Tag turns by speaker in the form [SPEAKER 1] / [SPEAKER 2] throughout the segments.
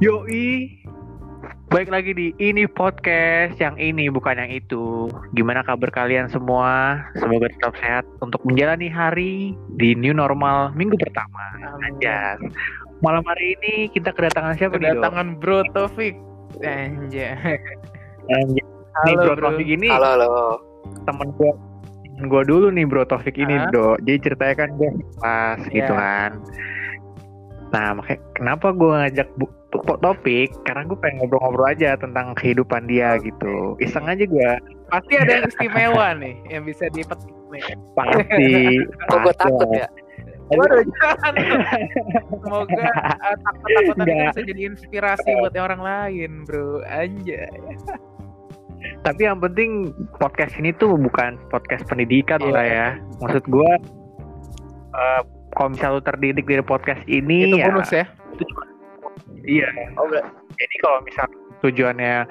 [SPEAKER 1] Yoi, baik lagi di ini podcast yang ini bukan yang itu. Gimana kabar kalian semua? Semoga tetap sehat untuk menjalani hari di new normal minggu pertama. Aja. Malam hari ini kita kedatangan siapa nih, Dok?
[SPEAKER 2] Kedatangan Bro Taufik. Anjay.
[SPEAKER 1] Anjay, Nih,
[SPEAKER 2] Halo
[SPEAKER 1] Bro
[SPEAKER 2] Bro.
[SPEAKER 1] Taufik ini
[SPEAKER 3] Halo, halo.
[SPEAKER 1] temen gua temen gua dulu nih Bro Taufik ini,
[SPEAKER 2] Hah?
[SPEAKER 1] Dok. Jadi ceritanya kan gua pas gitu
[SPEAKER 2] Iya.
[SPEAKER 1] kan. Nah, makanya kenapa gua ngajak bu Pok topik karena gue pengen ngobrol-ngobrol aja tentang kehidupan dia gitu iseng aja gua
[SPEAKER 2] Pasti ada yang istimewa nih yang bisa dipetik nih.
[SPEAKER 1] pasti
[SPEAKER 3] Kok gue
[SPEAKER 1] pasti.
[SPEAKER 3] takut ya?
[SPEAKER 2] Waduh, jangan. Semoga eh, takut-takutan ini
[SPEAKER 1] Enggak.
[SPEAKER 2] bisa jadi inspirasi buat orang lain, Bro. Anjay.
[SPEAKER 1] tapi yang penting podcast ini tuh bukan podcast pendidikan
[SPEAKER 2] Iya.
[SPEAKER 1] lah ya maksud gua eh, kalau misal lu terdidik dari podcast ini
[SPEAKER 2] Itu
[SPEAKER 1] ya
[SPEAKER 2] bonus ya.
[SPEAKER 1] iya
[SPEAKER 3] Oh,
[SPEAKER 1] jadi kalau misal tujuannya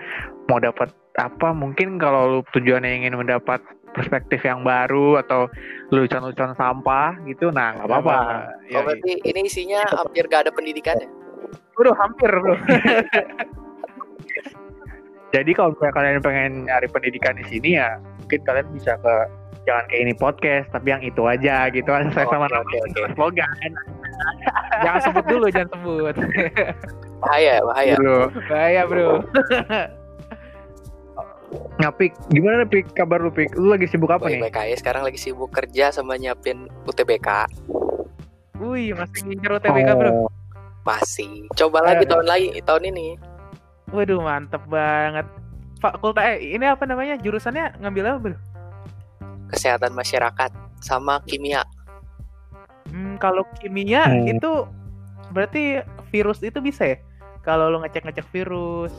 [SPEAKER 1] mau dapat apa mungkin kalau lu tujuannya ingin mendapat perspektif yang baru atau lucuan-lucuan sampah gitu nah nggak apa-apa
[SPEAKER 2] Ya,
[SPEAKER 3] Oh, berarti ini isinya hampir gak ada ya? pendidikannya.
[SPEAKER 2] Bro, hampir, Bro.
[SPEAKER 1] Jadi kalau misalnya kalian pengen nyari pendidikan di sini ya mungkin kalian bisa ke jangan kayak ini podcast tapi yang itu aja gitu kan saya
[SPEAKER 3] Oh,
[SPEAKER 1] sama
[SPEAKER 3] Oke, oke, oke.
[SPEAKER 1] slogan
[SPEAKER 2] jangan sebut dulu, jangan sebut.
[SPEAKER 3] Bahaya, bahaya.
[SPEAKER 1] dulu.
[SPEAKER 2] Bahaya,
[SPEAKER 1] Oh.
[SPEAKER 2] Bro.
[SPEAKER 1] Nah, Pik, gimana Pik kabar lu Pik? Lu lagi sibuk apa nih?
[SPEAKER 3] Baik, baik aja. Sekarang lagi sibuk kerja sama nyiapin UTBK.
[SPEAKER 2] Wih, masih ngincer UTBK, Bro.
[SPEAKER 1] Oh,
[SPEAKER 3] Masih. Coba
[SPEAKER 1] Iya,
[SPEAKER 3] lagi
[SPEAKER 2] Aduh.
[SPEAKER 3] tahun lagi, tahun ini.
[SPEAKER 2] Waduh, mantep banget. Fakultas eh, ini apa namanya? Jurusannya ngambil apa, Bro?
[SPEAKER 3] Kesehatan masyarakat sama kimia.
[SPEAKER 2] Hmm, kalau kimia
[SPEAKER 1] Hmm.
[SPEAKER 2] itu berarti virus itu bisa ya? Kalau lo ngecek-ngecek virus.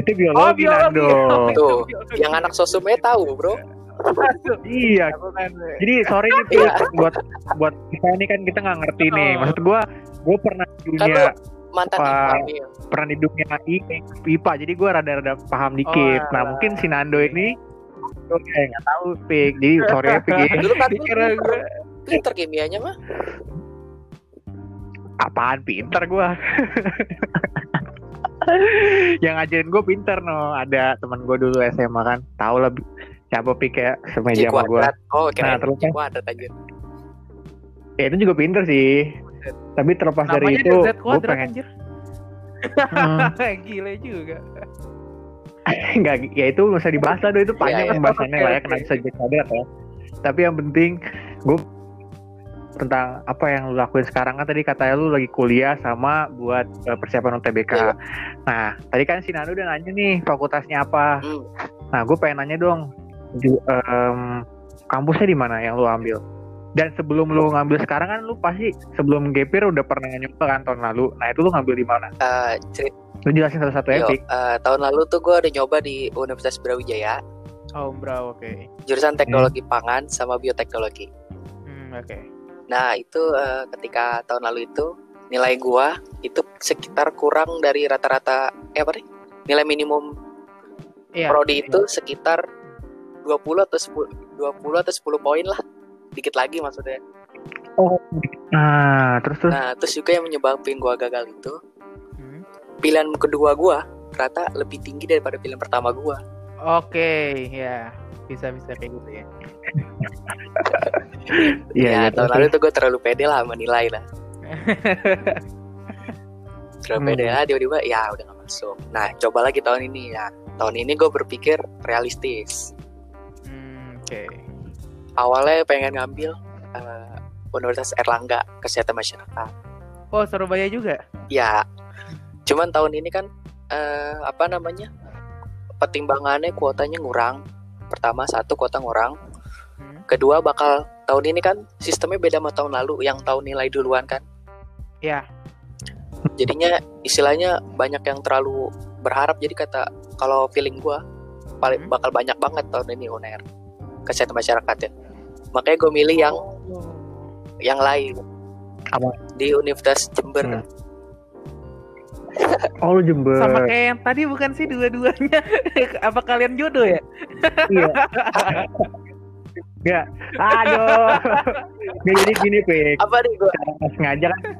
[SPEAKER 1] itu biologi, Nando.
[SPEAKER 3] Tuh,
[SPEAKER 2] biologi.
[SPEAKER 3] Yang anak sosumnya tahu, bro.
[SPEAKER 2] Aduh,
[SPEAKER 1] Iya.
[SPEAKER 2] aku kan, eh,
[SPEAKER 1] Jadi sorry nih Pik buat buat kita ini kan kita nggak ngerti
[SPEAKER 2] Oh.
[SPEAKER 1] nih. Maksud gua gua pernah di dunia
[SPEAKER 3] Kan Mantan
[SPEAKER 1] Wah.
[SPEAKER 3] IPA nih.
[SPEAKER 1] pernah di dunia I- IPA jadi gue rada-rada paham dikit
[SPEAKER 2] Oh,
[SPEAKER 1] nah
[SPEAKER 2] alah.
[SPEAKER 1] mungkin si Nando ini gue kayak nggak tahu pik jadi sorry ya pik ya.
[SPEAKER 3] Dulu kan lu
[SPEAKER 2] Dikira
[SPEAKER 3] pinter,
[SPEAKER 2] gue
[SPEAKER 3] pinter kimianya mah.
[SPEAKER 1] apaan pinter gue yang ngajarin gue pinter no ada teman gue dulu SMA kan tau lah siapa pik ya
[SPEAKER 3] J
[SPEAKER 1] semeja sama gue
[SPEAKER 3] kuadrat. Oh,
[SPEAKER 1] Nah,
[SPEAKER 3] kira
[SPEAKER 1] terus
[SPEAKER 3] J kuadrat aja.
[SPEAKER 1] ya itu juga pinter sih tapi terlepas dari
[SPEAKER 2] namanya
[SPEAKER 1] itu
[SPEAKER 2] itu, Z
[SPEAKER 1] gue
[SPEAKER 2] kuadrat
[SPEAKER 1] pengen
[SPEAKER 2] anjir.
[SPEAKER 1] Hmm,
[SPEAKER 2] Gile juga.
[SPEAKER 1] nggak ya itu nggak usah dibahas lah Do. itu panjang
[SPEAKER 3] Iya, iya.
[SPEAKER 1] pembahasannya
[SPEAKER 2] Oke,
[SPEAKER 1] lah ya
[SPEAKER 2] oke.
[SPEAKER 1] kenapa bisa jadi kader ya tapi yang penting gue tentang apa yang lu lakuin sekarang kan tadi katanya lu lagi kuliah sama buat eh, persiapan UTBK.
[SPEAKER 3] Iya.
[SPEAKER 1] Nah, tadi kan si Nando udah nanya nih fakultasnya apa.
[SPEAKER 3] Hmm.
[SPEAKER 1] Nah, gue pengen nanya dong ju- em, kampusnya di mana yang lu ambil? Dan sebelum lu ngambil sekarang kan lu pasti sebelum GPIR udah pernah nyoba kan tahun lalu. Nah, itu lu ngambil di mana?
[SPEAKER 3] Eh, cerita
[SPEAKER 1] Lu jelasin satu-satu ya,
[SPEAKER 3] yo,
[SPEAKER 1] Pik.
[SPEAKER 3] eh, tahun lalu tuh gue udah nyoba di Universitas Brawijaya
[SPEAKER 2] Oh, bro, oke.
[SPEAKER 3] jurusan teknologi
[SPEAKER 1] Hmm.
[SPEAKER 3] pangan sama bioteknologi.
[SPEAKER 2] Hmm, oke.
[SPEAKER 3] Nah itu eh, ketika tahun lalu itu nilai gua itu sekitar kurang dari rata-rata eh apa nih nilai minimum
[SPEAKER 2] Iya.
[SPEAKER 3] prodi itu sekitar 20 atau 10 20 atau 10 poin lah dikit lagi maksudnya.
[SPEAKER 1] Nah, terus terus
[SPEAKER 3] Nah terus juga yang menyebabkan gua gagal itu
[SPEAKER 2] Hmm.
[SPEAKER 3] pilihan kedua gua ternyata lebih tinggi daripada pilihan pertama gua.
[SPEAKER 2] Oke, ya. Bisa-bisa kayak gitu ya.
[SPEAKER 1] Iya, iya,
[SPEAKER 3] ya, tahun
[SPEAKER 1] terus,
[SPEAKER 3] lalu itu gua terlalu pede lah menilai lah. terlalu pede
[SPEAKER 1] Hmm.
[SPEAKER 3] lah tiba-tiba ya udah gak masuk. Nah coba lagi tahun ini ya. Tahun ini gue berpikir realistis.
[SPEAKER 2] Hmm, oke.
[SPEAKER 3] awalnya pengen ngambil eh, Universitas Erlangga kesehatan masyarakat.
[SPEAKER 2] Oh, Surabaya juga.
[SPEAKER 3] Ya, cuman tahun ini kan eh, apa namanya pertimbangannya kuotanya ngurang. Pertama satu kuota ngurang,
[SPEAKER 2] Hmm.
[SPEAKER 3] kedua bakal tahun ini kan sistemnya beda sama tahun lalu yang tahun nilai duluan kan.
[SPEAKER 2] Ya.
[SPEAKER 3] Jadinya istilahnya banyak yang terlalu berharap. Jadi kata kalau feeling gua paling
[SPEAKER 2] Hmm.
[SPEAKER 3] bakal banyak banget tahun ini UNER kesehatan masyarakat ya. Makanya gue milih yang
[SPEAKER 2] Oh.
[SPEAKER 3] yang lain
[SPEAKER 1] Apa?
[SPEAKER 3] di Universitas Jember.
[SPEAKER 1] Hmm. oh lu Jember.
[SPEAKER 2] Sama kayak yang tadi bukan sih dua-duanya? Apa kalian jodoh ya?
[SPEAKER 1] Iya. Enggak. Aduh. Nggak jadi gini, Pik.
[SPEAKER 3] Apa nih gua?
[SPEAKER 1] Sengaja kan.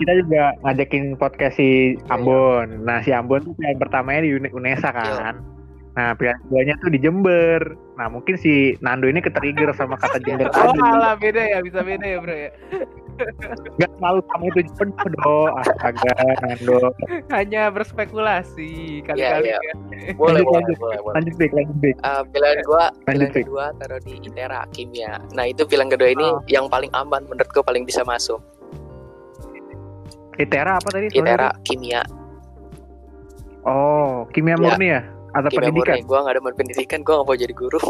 [SPEAKER 1] kita juga ngajakin podcast si Ambon. Nah, si Ambon tuh pilihan pertamanya di Uni- Unesa kan. Nah, pilihan keduanya tuh di Jember. Nah, mungkin si Nando ini ketrigger sama kata Jember
[SPEAKER 2] Oh,
[SPEAKER 1] tadi.
[SPEAKER 2] alah beda ya, bisa beda ya, Bro ya.
[SPEAKER 1] Gak selalu kamu itu penuh do. Astaga, Nando.
[SPEAKER 2] Hanya berspekulasi
[SPEAKER 3] Iya,
[SPEAKER 2] kali-kali.
[SPEAKER 3] iya.
[SPEAKER 2] ya.
[SPEAKER 3] Boleh, boleh,
[SPEAKER 1] lanjut.
[SPEAKER 3] boleh, boleh.
[SPEAKER 1] Lanjut Bik, lanjut Bik.
[SPEAKER 3] Eh, pilihan gua, pilihan
[SPEAKER 1] Lanjut, Fik.
[SPEAKER 3] kedua taruh di ITERA kimia. Nah, itu pilihan kedua
[SPEAKER 1] Ah.
[SPEAKER 3] ini
[SPEAKER 2] Oh.
[SPEAKER 3] yang paling aman menurut gua paling bisa masuk.
[SPEAKER 1] ITERA apa tadi? Sorry,
[SPEAKER 3] ITERA kimia.
[SPEAKER 1] Bik. Oh, kimia
[SPEAKER 3] Iya.
[SPEAKER 1] murni ya? Atau
[SPEAKER 3] Kimia
[SPEAKER 1] pendidikan?
[SPEAKER 3] murni. Gua nggak ada pendidikan, gua nggak mau jadi guru.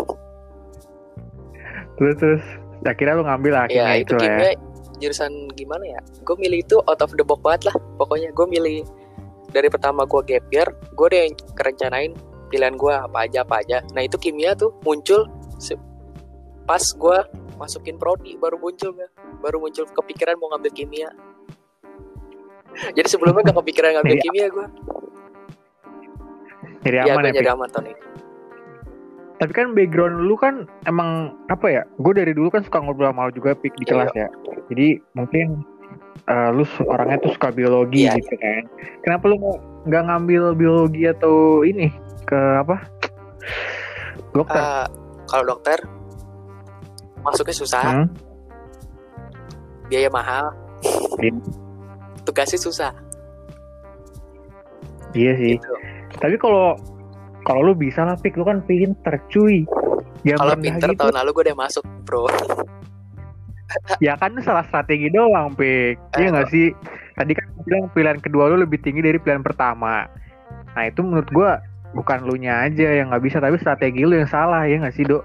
[SPEAKER 1] Terus, terus. Akhirnya lu ngambil lah kimia
[SPEAKER 3] ya, itu
[SPEAKER 1] itu lah ya.
[SPEAKER 3] kimia jurusan gimana ya? Gua milih itu out of the box banget lah. Pokoknya gua milih dari pertama gua gap year, gua udah yang kerencanain pilihan gua apa aja apa aja. Nah, itu kimia tuh muncul se- pas gua masukin prodi baru muncul Bel. baru muncul kepikiran mau ngambil kimia. Jadi sebelumnya gak kepikiran ngambil
[SPEAKER 1] Jadi-
[SPEAKER 3] kimia gua.
[SPEAKER 1] Jadi aman
[SPEAKER 3] Iya, gua
[SPEAKER 1] ya, Bik.
[SPEAKER 3] jadi aman tahun ini.
[SPEAKER 1] Tapi kan background lu kan emang apa ya? Gue dari dulu kan suka ngobrol sama lu juga pik di
[SPEAKER 3] Iya.
[SPEAKER 1] kelas ya. Jadi mungkin eh, lu su- orangnya tuh suka biologi
[SPEAKER 3] Iya,
[SPEAKER 1] gitu kan. Kenapa lu nggak- nggak ngambil biologi atau ini ke apa? Dokter.
[SPEAKER 3] Ah, kalau dokter masuknya susah,
[SPEAKER 1] Hmm?
[SPEAKER 3] biaya mahal,
[SPEAKER 1] Iya.
[SPEAKER 3] tugasnya susah.
[SPEAKER 1] Iya sih.
[SPEAKER 3] Gitu.
[SPEAKER 1] Tapi kalau kalau lu bisa lah pik, lu kan pinter cuy. Ya
[SPEAKER 3] Kalau
[SPEAKER 1] pernah
[SPEAKER 3] pinter
[SPEAKER 1] gitu.
[SPEAKER 3] tahun lalu gue udah masuk, bro.
[SPEAKER 1] Ya kan itu salah strategi doang pik. Iya
[SPEAKER 3] Eh,
[SPEAKER 1] nggak sih? Tadi kan lu bilang pilihan kedua lu lebih tinggi dari pilihan pertama. Nah itu menurut gua bukan lu nya aja yang nggak bisa tapi strategi lu yang salah ya nggak sih dok?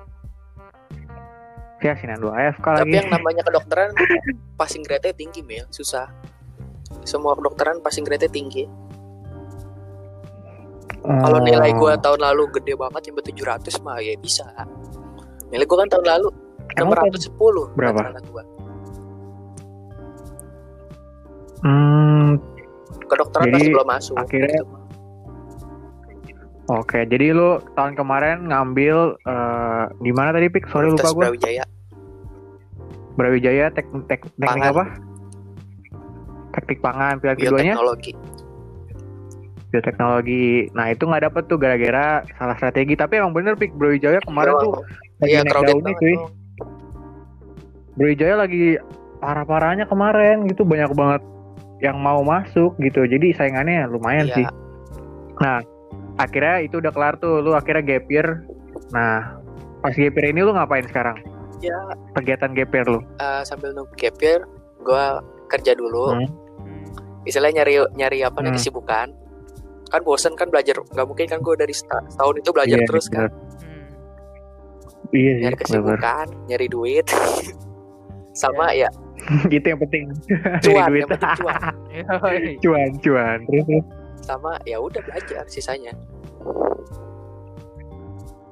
[SPEAKER 1] Ya sinan dua AFK
[SPEAKER 3] Tapi
[SPEAKER 1] lagi.
[SPEAKER 3] yang namanya kedokteran passing grade-nya tinggi, Mil. Susah. Semua kedokteran passing grade-nya tinggi.
[SPEAKER 1] Oh.
[SPEAKER 3] Kalau nilai gue tahun lalu gede banget nyampe 700 mah ya bisa. Nilai gue kan tahun lalu
[SPEAKER 1] Emang
[SPEAKER 3] nomor 110
[SPEAKER 1] Berapa?
[SPEAKER 3] rata-rata gua.
[SPEAKER 1] Hmm,
[SPEAKER 3] Kedokteran
[SPEAKER 1] Jadi,
[SPEAKER 3] masih belum masuk.
[SPEAKER 1] akhirnya-
[SPEAKER 3] gitu.
[SPEAKER 1] oke. Jadi lu tahun kemarin ngambil eh, di mana tadi pik? Sorry lupa
[SPEAKER 3] Universitas
[SPEAKER 1] gua.
[SPEAKER 3] Brawijaya.
[SPEAKER 1] Brawijaya tek, tek, teknik
[SPEAKER 3] Pangan. Iya,
[SPEAKER 1] apa? Teknik pangan pilihan keduanya
[SPEAKER 3] Bioteknologi.
[SPEAKER 1] bioteknologi. Nah itu nggak dapet tuh gara-gara salah strategi. Tapi emang bener pik Brawijaya kemarin
[SPEAKER 3] Doang.
[SPEAKER 1] tuh lagi
[SPEAKER 3] Iya,
[SPEAKER 1] naik eh,
[SPEAKER 3] crowded
[SPEAKER 1] daunnya,
[SPEAKER 3] banget.
[SPEAKER 1] cuy.
[SPEAKER 3] dong.
[SPEAKER 1] Brawijaya lagi parah-parahnya kemarin gitu banyak banget yang mau masuk gitu. Jadi saingannya lumayan
[SPEAKER 3] Iya.
[SPEAKER 1] sih. Nah akhirnya itu udah kelar tuh. Lu akhirnya gap year. Nah pas gap year ini lu ngapain sekarang?
[SPEAKER 3] Ya,
[SPEAKER 1] Kegiatan gap year lu?
[SPEAKER 3] eh, sambil nunggu gap year, gue kerja dulu.
[SPEAKER 1] Hmm.
[SPEAKER 3] Istilahnya nyari nyari apa nih
[SPEAKER 1] Hmm.
[SPEAKER 3] kesibukan. Kan bosen kan belajar, nggak mungkin kan gue dari seta- setahun itu belajar
[SPEAKER 1] Iya,
[SPEAKER 3] terus kan.
[SPEAKER 1] bener.
[SPEAKER 2] Hmm,
[SPEAKER 1] Iya sih.
[SPEAKER 3] Nyari
[SPEAKER 1] bener.
[SPEAKER 3] kesibukan, nyari duit. Sama ya,
[SPEAKER 1] itu Gitu yang penting. Nyari
[SPEAKER 3] cuan,
[SPEAKER 1] duit.
[SPEAKER 3] yang penting cuan.
[SPEAKER 2] Hmm.
[SPEAKER 1] Cuan, cuan. Terus
[SPEAKER 3] Sama ya udah belajar sisanya.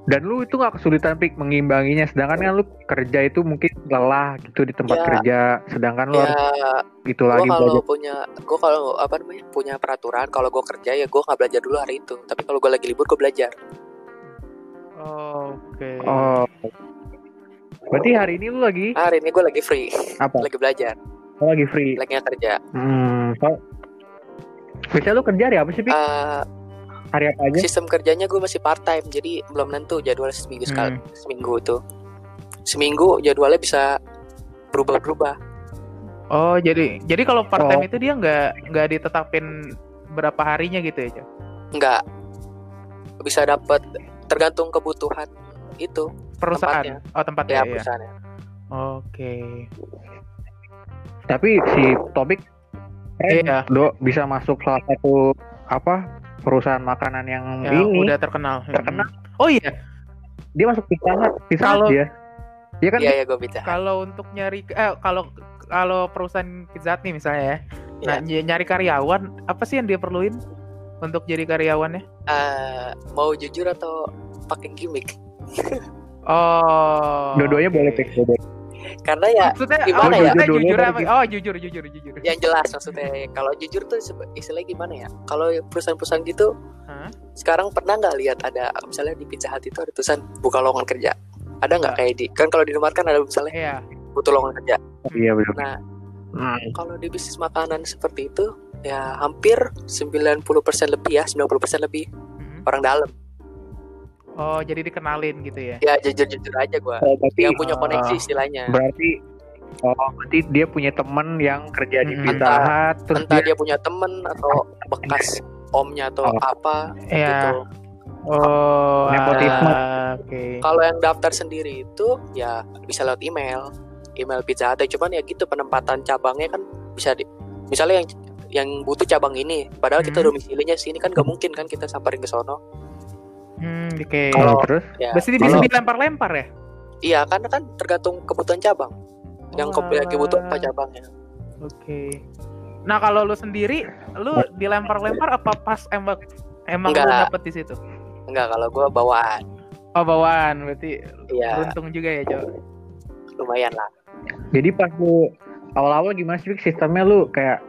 [SPEAKER 1] dan lu itu nggak kesulitan pik mengimbanginya sedangkan kan lu kerja itu mungkin lelah gitu di tempat
[SPEAKER 3] Ya.
[SPEAKER 1] kerja sedangkan lu harus
[SPEAKER 3] ya,
[SPEAKER 1] gitu
[SPEAKER 3] gue
[SPEAKER 1] lagi
[SPEAKER 3] kalau
[SPEAKER 1] belajar
[SPEAKER 3] punya, gue kalau apa namanya punya peraturan, kalau gue kerja ya gue nggak belajar dulu hari itu. Tapi kalau gue lagi libur gue belajar.
[SPEAKER 2] Oke.
[SPEAKER 1] oh berarti hari ini lu lagi
[SPEAKER 3] Ah, hari ini gue lagi free,
[SPEAKER 1] apa
[SPEAKER 3] lagi belajar,
[SPEAKER 1] lu lagi free
[SPEAKER 3] lagi nggak kerja.
[SPEAKER 1] hmm so- biasanya lu kerja hari apa sih pik
[SPEAKER 3] Eh,
[SPEAKER 1] hari apa aja
[SPEAKER 3] sistem kerjanya gue masih part time jadi belum nentu jadwal seminggu sekali seminggu tuh seminggu jadwalnya bisa berubah-berubah
[SPEAKER 2] Oh, jadi jadi kalau part
[SPEAKER 1] Oh.
[SPEAKER 2] time itu dia nggak nggak ditetapin berapa harinya gitu ya, Cok?
[SPEAKER 3] nggak bisa dapat tergantung kebutuhan itu
[SPEAKER 2] Perusahaan. Oh, tempatnya
[SPEAKER 3] ya
[SPEAKER 2] ya.
[SPEAKER 3] perusahaannya
[SPEAKER 2] Oke.
[SPEAKER 1] tapi si topik keren
[SPEAKER 2] Iya,
[SPEAKER 1] do bisa masuk salah satu apa perusahaan makanan yang
[SPEAKER 2] ya,
[SPEAKER 1] ini
[SPEAKER 2] udah terkenal. Hmm.
[SPEAKER 1] Terkenal. Ya.
[SPEAKER 2] Oh iya,
[SPEAKER 1] dia masuk pizza hut pizza hut
[SPEAKER 2] Kalau-
[SPEAKER 1] dia dia kan
[SPEAKER 3] iya ya gue bisa
[SPEAKER 2] kalau untuk nyari eh kalau kalau perusahaan Pizza Hut nih misalnya ya. Nah, ny- nyari karyawan apa sih yang dia perluin untuk jadi karyawannya?
[SPEAKER 3] Eh, mau jujur atau pakai gimmick
[SPEAKER 2] Oh.
[SPEAKER 1] dua-duanya
[SPEAKER 2] oke.
[SPEAKER 1] boleh pik
[SPEAKER 3] iya.
[SPEAKER 1] dua-duanya.
[SPEAKER 3] karena ya
[SPEAKER 2] Maksudnya oh,
[SPEAKER 3] Gimana ya?
[SPEAKER 2] maksudnya
[SPEAKER 1] Jujur dulu,
[SPEAKER 2] jujur
[SPEAKER 1] ntar
[SPEAKER 2] apa?
[SPEAKER 1] gitu.
[SPEAKER 2] Oh, jujur jujur jujur.
[SPEAKER 3] yang jelas maksudnya kalau jujur tuh sebe- istilahnya gimana ya kalau perusahaan-perusahaan gitu
[SPEAKER 2] Hah?
[SPEAKER 3] sekarang pernah nggak lihat ada misalnya di Pizza Hut itu ada tulisan buka lowongan kerja ada nggak kayak di kan kalau di Indomaret kan ada misalnya
[SPEAKER 2] Iya.
[SPEAKER 3] butuh lowongan kerja
[SPEAKER 1] iya betul
[SPEAKER 3] Nah,
[SPEAKER 1] Hmm.
[SPEAKER 3] kalau di bisnis makanan seperti itu ya hampir 90% lebih ya 90% lebih
[SPEAKER 2] Mm-mm.
[SPEAKER 3] orang dalam
[SPEAKER 2] Mm-hmm. Oh, jadi dikenalin gitu ya.
[SPEAKER 3] ya jujur-jujur aja gua
[SPEAKER 1] Oh, berarti,
[SPEAKER 3] yang punya
[SPEAKER 2] Ah.
[SPEAKER 3] koneksi istilahnya
[SPEAKER 1] berarti oh berarti dia punya temen yang kerja di
[SPEAKER 2] Hmm.
[SPEAKER 1] Pizza
[SPEAKER 3] Entah-
[SPEAKER 1] Hut, terus
[SPEAKER 3] entah
[SPEAKER 1] dia,
[SPEAKER 3] dia punya temen atau bekas omnya
[SPEAKER 1] Oh.
[SPEAKER 3] atau apa
[SPEAKER 2] Ya.
[SPEAKER 3] gitu
[SPEAKER 2] Oh,
[SPEAKER 1] Nepotisme.
[SPEAKER 2] ah, Oke.
[SPEAKER 3] kalau yang daftar sendiri itu ya bisa lewat email email pizza Hut ya. cuman ya gitu penempatan cabangnya kan bisa di misalnya yang yang butuh cabang ini padahal kita
[SPEAKER 2] Hmm.
[SPEAKER 3] domisilinya sini kan gak mungkin kan kita samperin ke sono
[SPEAKER 2] Hmm, oke.
[SPEAKER 1] kalau
[SPEAKER 3] kalau-
[SPEAKER 1] terus
[SPEAKER 3] ya
[SPEAKER 2] Berarti bisa
[SPEAKER 1] kalau-
[SPEAKER 2] dilempar-lempar ya?
[SPEAKER 3] iya karena kan tergantung kebutuhan cabang yang ya.
[SPEAKER 2] Oh,
[SPEAKER 3] kopi lagi butuh apa
[SPEAKER 2] alah.
[SPEAKER 3] cabangnya
[SPEAKER 2] Oke. Nah, kalau lu sendiri lu dilempar-lempar apa pas emang emang lu
[SPEAKER 3] Enggak.
[SPEAKER 2] dapet di situ?
[SPEAKER 3] enggak kalau gua bawaan
[SPEAKER 2] Oh, bawaan berarti
[SPEAKER 3] iya
[SPEAKER 2] beruntung juga ya, Jo.
[SPEAKER 3] lumayan lah
[SPEAKER 1] jadi pas lu awal-awal gimana sih Vic? sistemnya lu kayak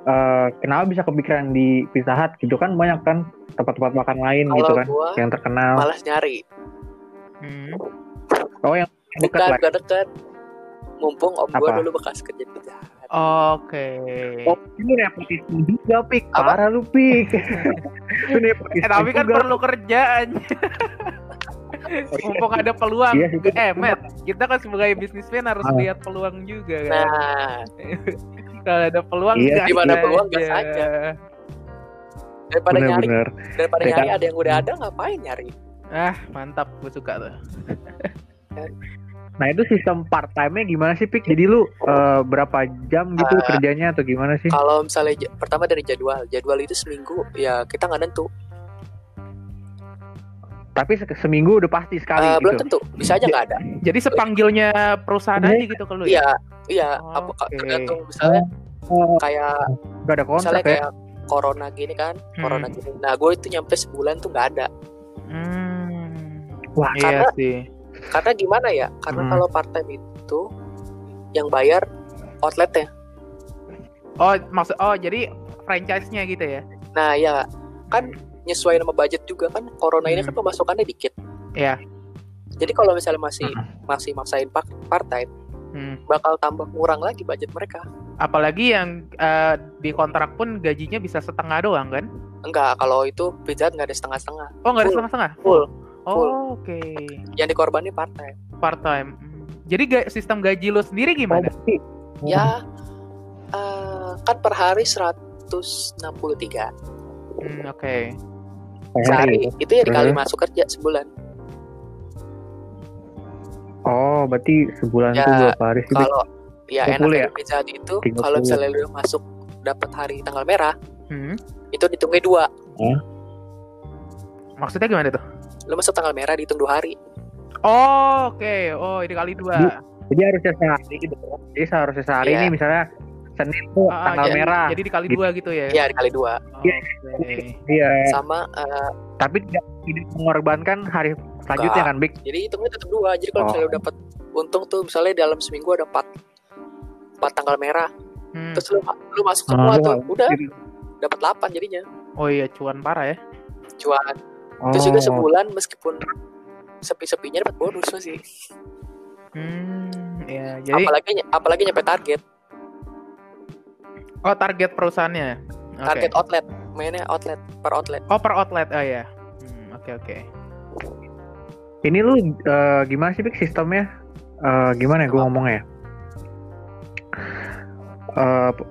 [SPEAKER 1] eh, kenapa bisa kepikiran di Pizza Hut gitu kan banyak kan tempat-tempat makan lain gitu
[SPEAKER 3] kalau
[SPEAKER 1] kan
[SPEAKER 3] gua
[SPEAKER 1] yang terkenal
[SPEAKER 3] malas nyari
[SPEAKER 2] Hmm.
[SPEAKER 1] oh yang dekat
[SPEAKER 3] dekat
[SPEAKER 1] lah
[SPEAKER 3] gak dekat mumpung om gua
[SPEAKER 1] Apa?
[SPEAKER 3] dulu bekas kerja di Pizza Hut.
[SPEAKER 2] Oke.
[SPEAKER 1] Oh, ini nepotisme juga, Pik.
[SPEAKER 3] Apa?
[SPEAKER 1] Parah lu, Pik. Lu nepotisme
[SPEAKER 2] Eh, tapi kan
[SPEAKER 1] juga.
[SPEAKER 2] perlu kerja anjir.
[SPEAKER 1] Oh,
[SPEAKER 2] Mumpung ada peluang.
[SPEAKER 1] Iya, itu
[SPEAKER 2] Eh, Matt, kita kan sebagai bisnismen harus
[SPEAKER 1] Ah.
[SPEAKER 2] lihat peluang juga kan.
[SPEAKER 3] nah
[SPEAKER 2] Kalau ada peluang
[SPEAKER 1] Iya,
[SPEAKER 2] gas
[SPEAKER 3] gimana
[SPEAKER 2] aja.
[SPEAKER 3] peluang, gas aja. daripada nyari
[SPEAKER 1] bener-bener.
[SPEAKER 3] daripada
[SPEAKER 1] Mereka-
[SPEAKER 3] nyari ada yang udah
[SPEAKER 1] Hmm.
[SPEAKER 3] ada ngapain nyari
[SPEAKER 2] Ah, mantap gue suka tuh.
[SPEAKER 1] Nah, itu sistem part time-nya gimana sih, Pik? Jadi lu eh, berapa jam gitu
[SPEAKER 3] Ah.
[SPEAKER 1] kerjanya atau gimana sih?
[SPEAKER 3] kalau misalnya ja- pertama dari jadwal jadwal itu seminggu ya kita nggak nentu
[SPEAKER 1] Tapi se- seminggu udah pasti sekali
[SPEAKER 3] Eh, belum
[SPEAKER 1] gitu.
[SPEAKER 3] tentu bisa aja nggak ada
[SPEAKER 2] Jadi sepanggilnya perusahaan aja gitu ke lu ya?
[SPEAKER 3] iya iya apa
[SPEAKER 2] Oke.
[SPEAKER 3] tergantung misalnya
[SPEAKER 1] Oh,
[SPEAKER 3] kayak
[SPEAKER 1] gak ada kontrak
[SPEAKER 3] misalnya
[SPEAKER 1] ya.
[SPEAKER 3] kayak corona gini kan
[SPEAKER 2] Hmm.
[SPEAKER 3] corona gini nah gue itu nyampe sebulan tuh nggak ada
[SPEAKER 2] Hmm.
[SPEAKER 1] Wah,
[SPEAKER 2] Iya
[SPEAKER 3] karena-
[SPEAKER 2] sih.
[SPEAKER 3] karena gimana ya karena
[SPEAKER 2] Hmm.
[SPEAKER 3] kalau part time itu yang bayar outletnya
[SPEAKER 2] Oh, maksud oh jadi franchise-nya gitu ya.
[SPEAKER 3] nah ya Kan- nyesuai sama budget juga kan corona ini
[SPEAKER 2] Hmm.
[SPEAKER 3] kan pemasukannya dikit
[SPEAKER 2] Iya.
[SPEAKER 3] jadi kalau misalnya masih masih maksain part part time
[SPEAKER 2] Hmm.
[SPEAKER 3] bakal tambah kurang lagi budget mereka
[SPEAKER 2] Apalagi yang eh, di kontrak pun gajinya bisa setengah doang kan?
[SPEAKER 3] enggak kalau itu pizza Hut nggak ada setengah-setengah
[SPEAKER 2] Oh, nggak ada
[SPEAKER 3] Full.
[SPEAKER 2] setengah-setengah?
[SPEAKER 3] full full.
[SPEAKER 2] Oh, oke.
[SPEAKER 3] yang dikorbanin part time
[SPEAKER 2] Part time. Hmm. Jadi ga- sistem gaji lu sendiri
[SPEAKER 1] Oh,
[SPEAKER 2] gimana?
[SPEAKER 1] berarti-
[SPEAKER 3] ya eh, kan per hari 163
[SPEAKER 2] Hmm, oke.
[SPEAKER 1] Per hari.
[SPEAKER 3] sehari itu ya dikali
[SPEAKER 1] Mhm.
[SPEAKER 3] masuk kerja sebulan
[SPEAKER 1] Oh, berarti sebulan
[SPEAKER 3] Ya,
[SPEAKER 1] tuh berapa hari sih, Pik?
[SPEAKER 3] kalau
[SPEAKER 1] 30
[SPEAKER 3] ya enak
[SPEAKER 1] Gitu. ya?
[SPEAKER 3] dari pizza Hut itu
[SPEAKER 1] 30.
[SPEAKER 3] kalau misalnya lu masuk dapat hari tanggal merah
[SPEAKER 2] Hmm.
[SPEAKER 3] itu dihitungnya dua
[SPEAKER 2] Maksudnya gimana tuh?
[SPEAKER 3] lu masuk tanggal merah dihitung dua hari
[SPEAKER 2] Oh, oke. Oh, ini kali dua.
[SPEAKER 1] Di- Jadi harusnya sehari gitu. Jadi seharusnya sehari
[SPEAKER 3] Iya.
[SPEAKER 1] ini misalnya Senin tuh
[SPEAKER 2] Ah,
[SPEAKER 1] tanggal
[SPEAKER 2] jadi-
[SPEAKER 1] merah.
[SPEAKER 2] Jadi dikali
[SPEAKER 1] Gitu.
[SPEAKER 2] dua gitu ya.
[SPEAKER 3] ya dikali dua
[SPEAKER 1] Iya.
[SPEAKER 2] Oke.
[SPEAKER 1] Iya.
[SPEAKER 3] sama eh,
[SPEAKER 1] Tapi tidak tidak mengorbankan hari selanjutnya kan, Bik?
[SPEAKER 3] jadi hitungnya tetap dua jadi kalau
[SPEAKER 1] Oh.
[SPEAKER 3] misalnya lu dapat untung tuh misalnya dalam seminggu ada empat empat tanggal merah
[SPEAKER 2] Hmm.
[SPEAKER 3] terus lu, lu masuk semua
[SPEAKER 1] Ah,
[SPEAKER 3] tuh udah
[SPEAKER 1] Jadi-
[SPEAKER 3] dapat 8 jadinya
[SPEAKER 2] Oh iya, cuan parah ya.
[SPEAKER 3] cuan terus juga
[SPEAKER 1] Oh.
[SPEAKER 3] sebulan meskipun sepi-sepinya dapat bonus sih
[SPEAKER 2] Hmm, ya. Jadi
[SPEAKER 3] apalagi apalagi nyampe target
[SPEAKER 2] oh target perusahaannya. Oke.
[SPEAKER 3] target outlet mainnya outlet per outlet
[SPEAKER 2] Oh, per outlet. Oh iya. Hmm, oke oke.
[SPEAKER 1] Ini lu eh, gimana sih Pik, sistemnya? Eh, gimana ya gue
[SPEAKER 3] Apa?
[SPEAKER 1] ngomongnya? ya? Eh, p-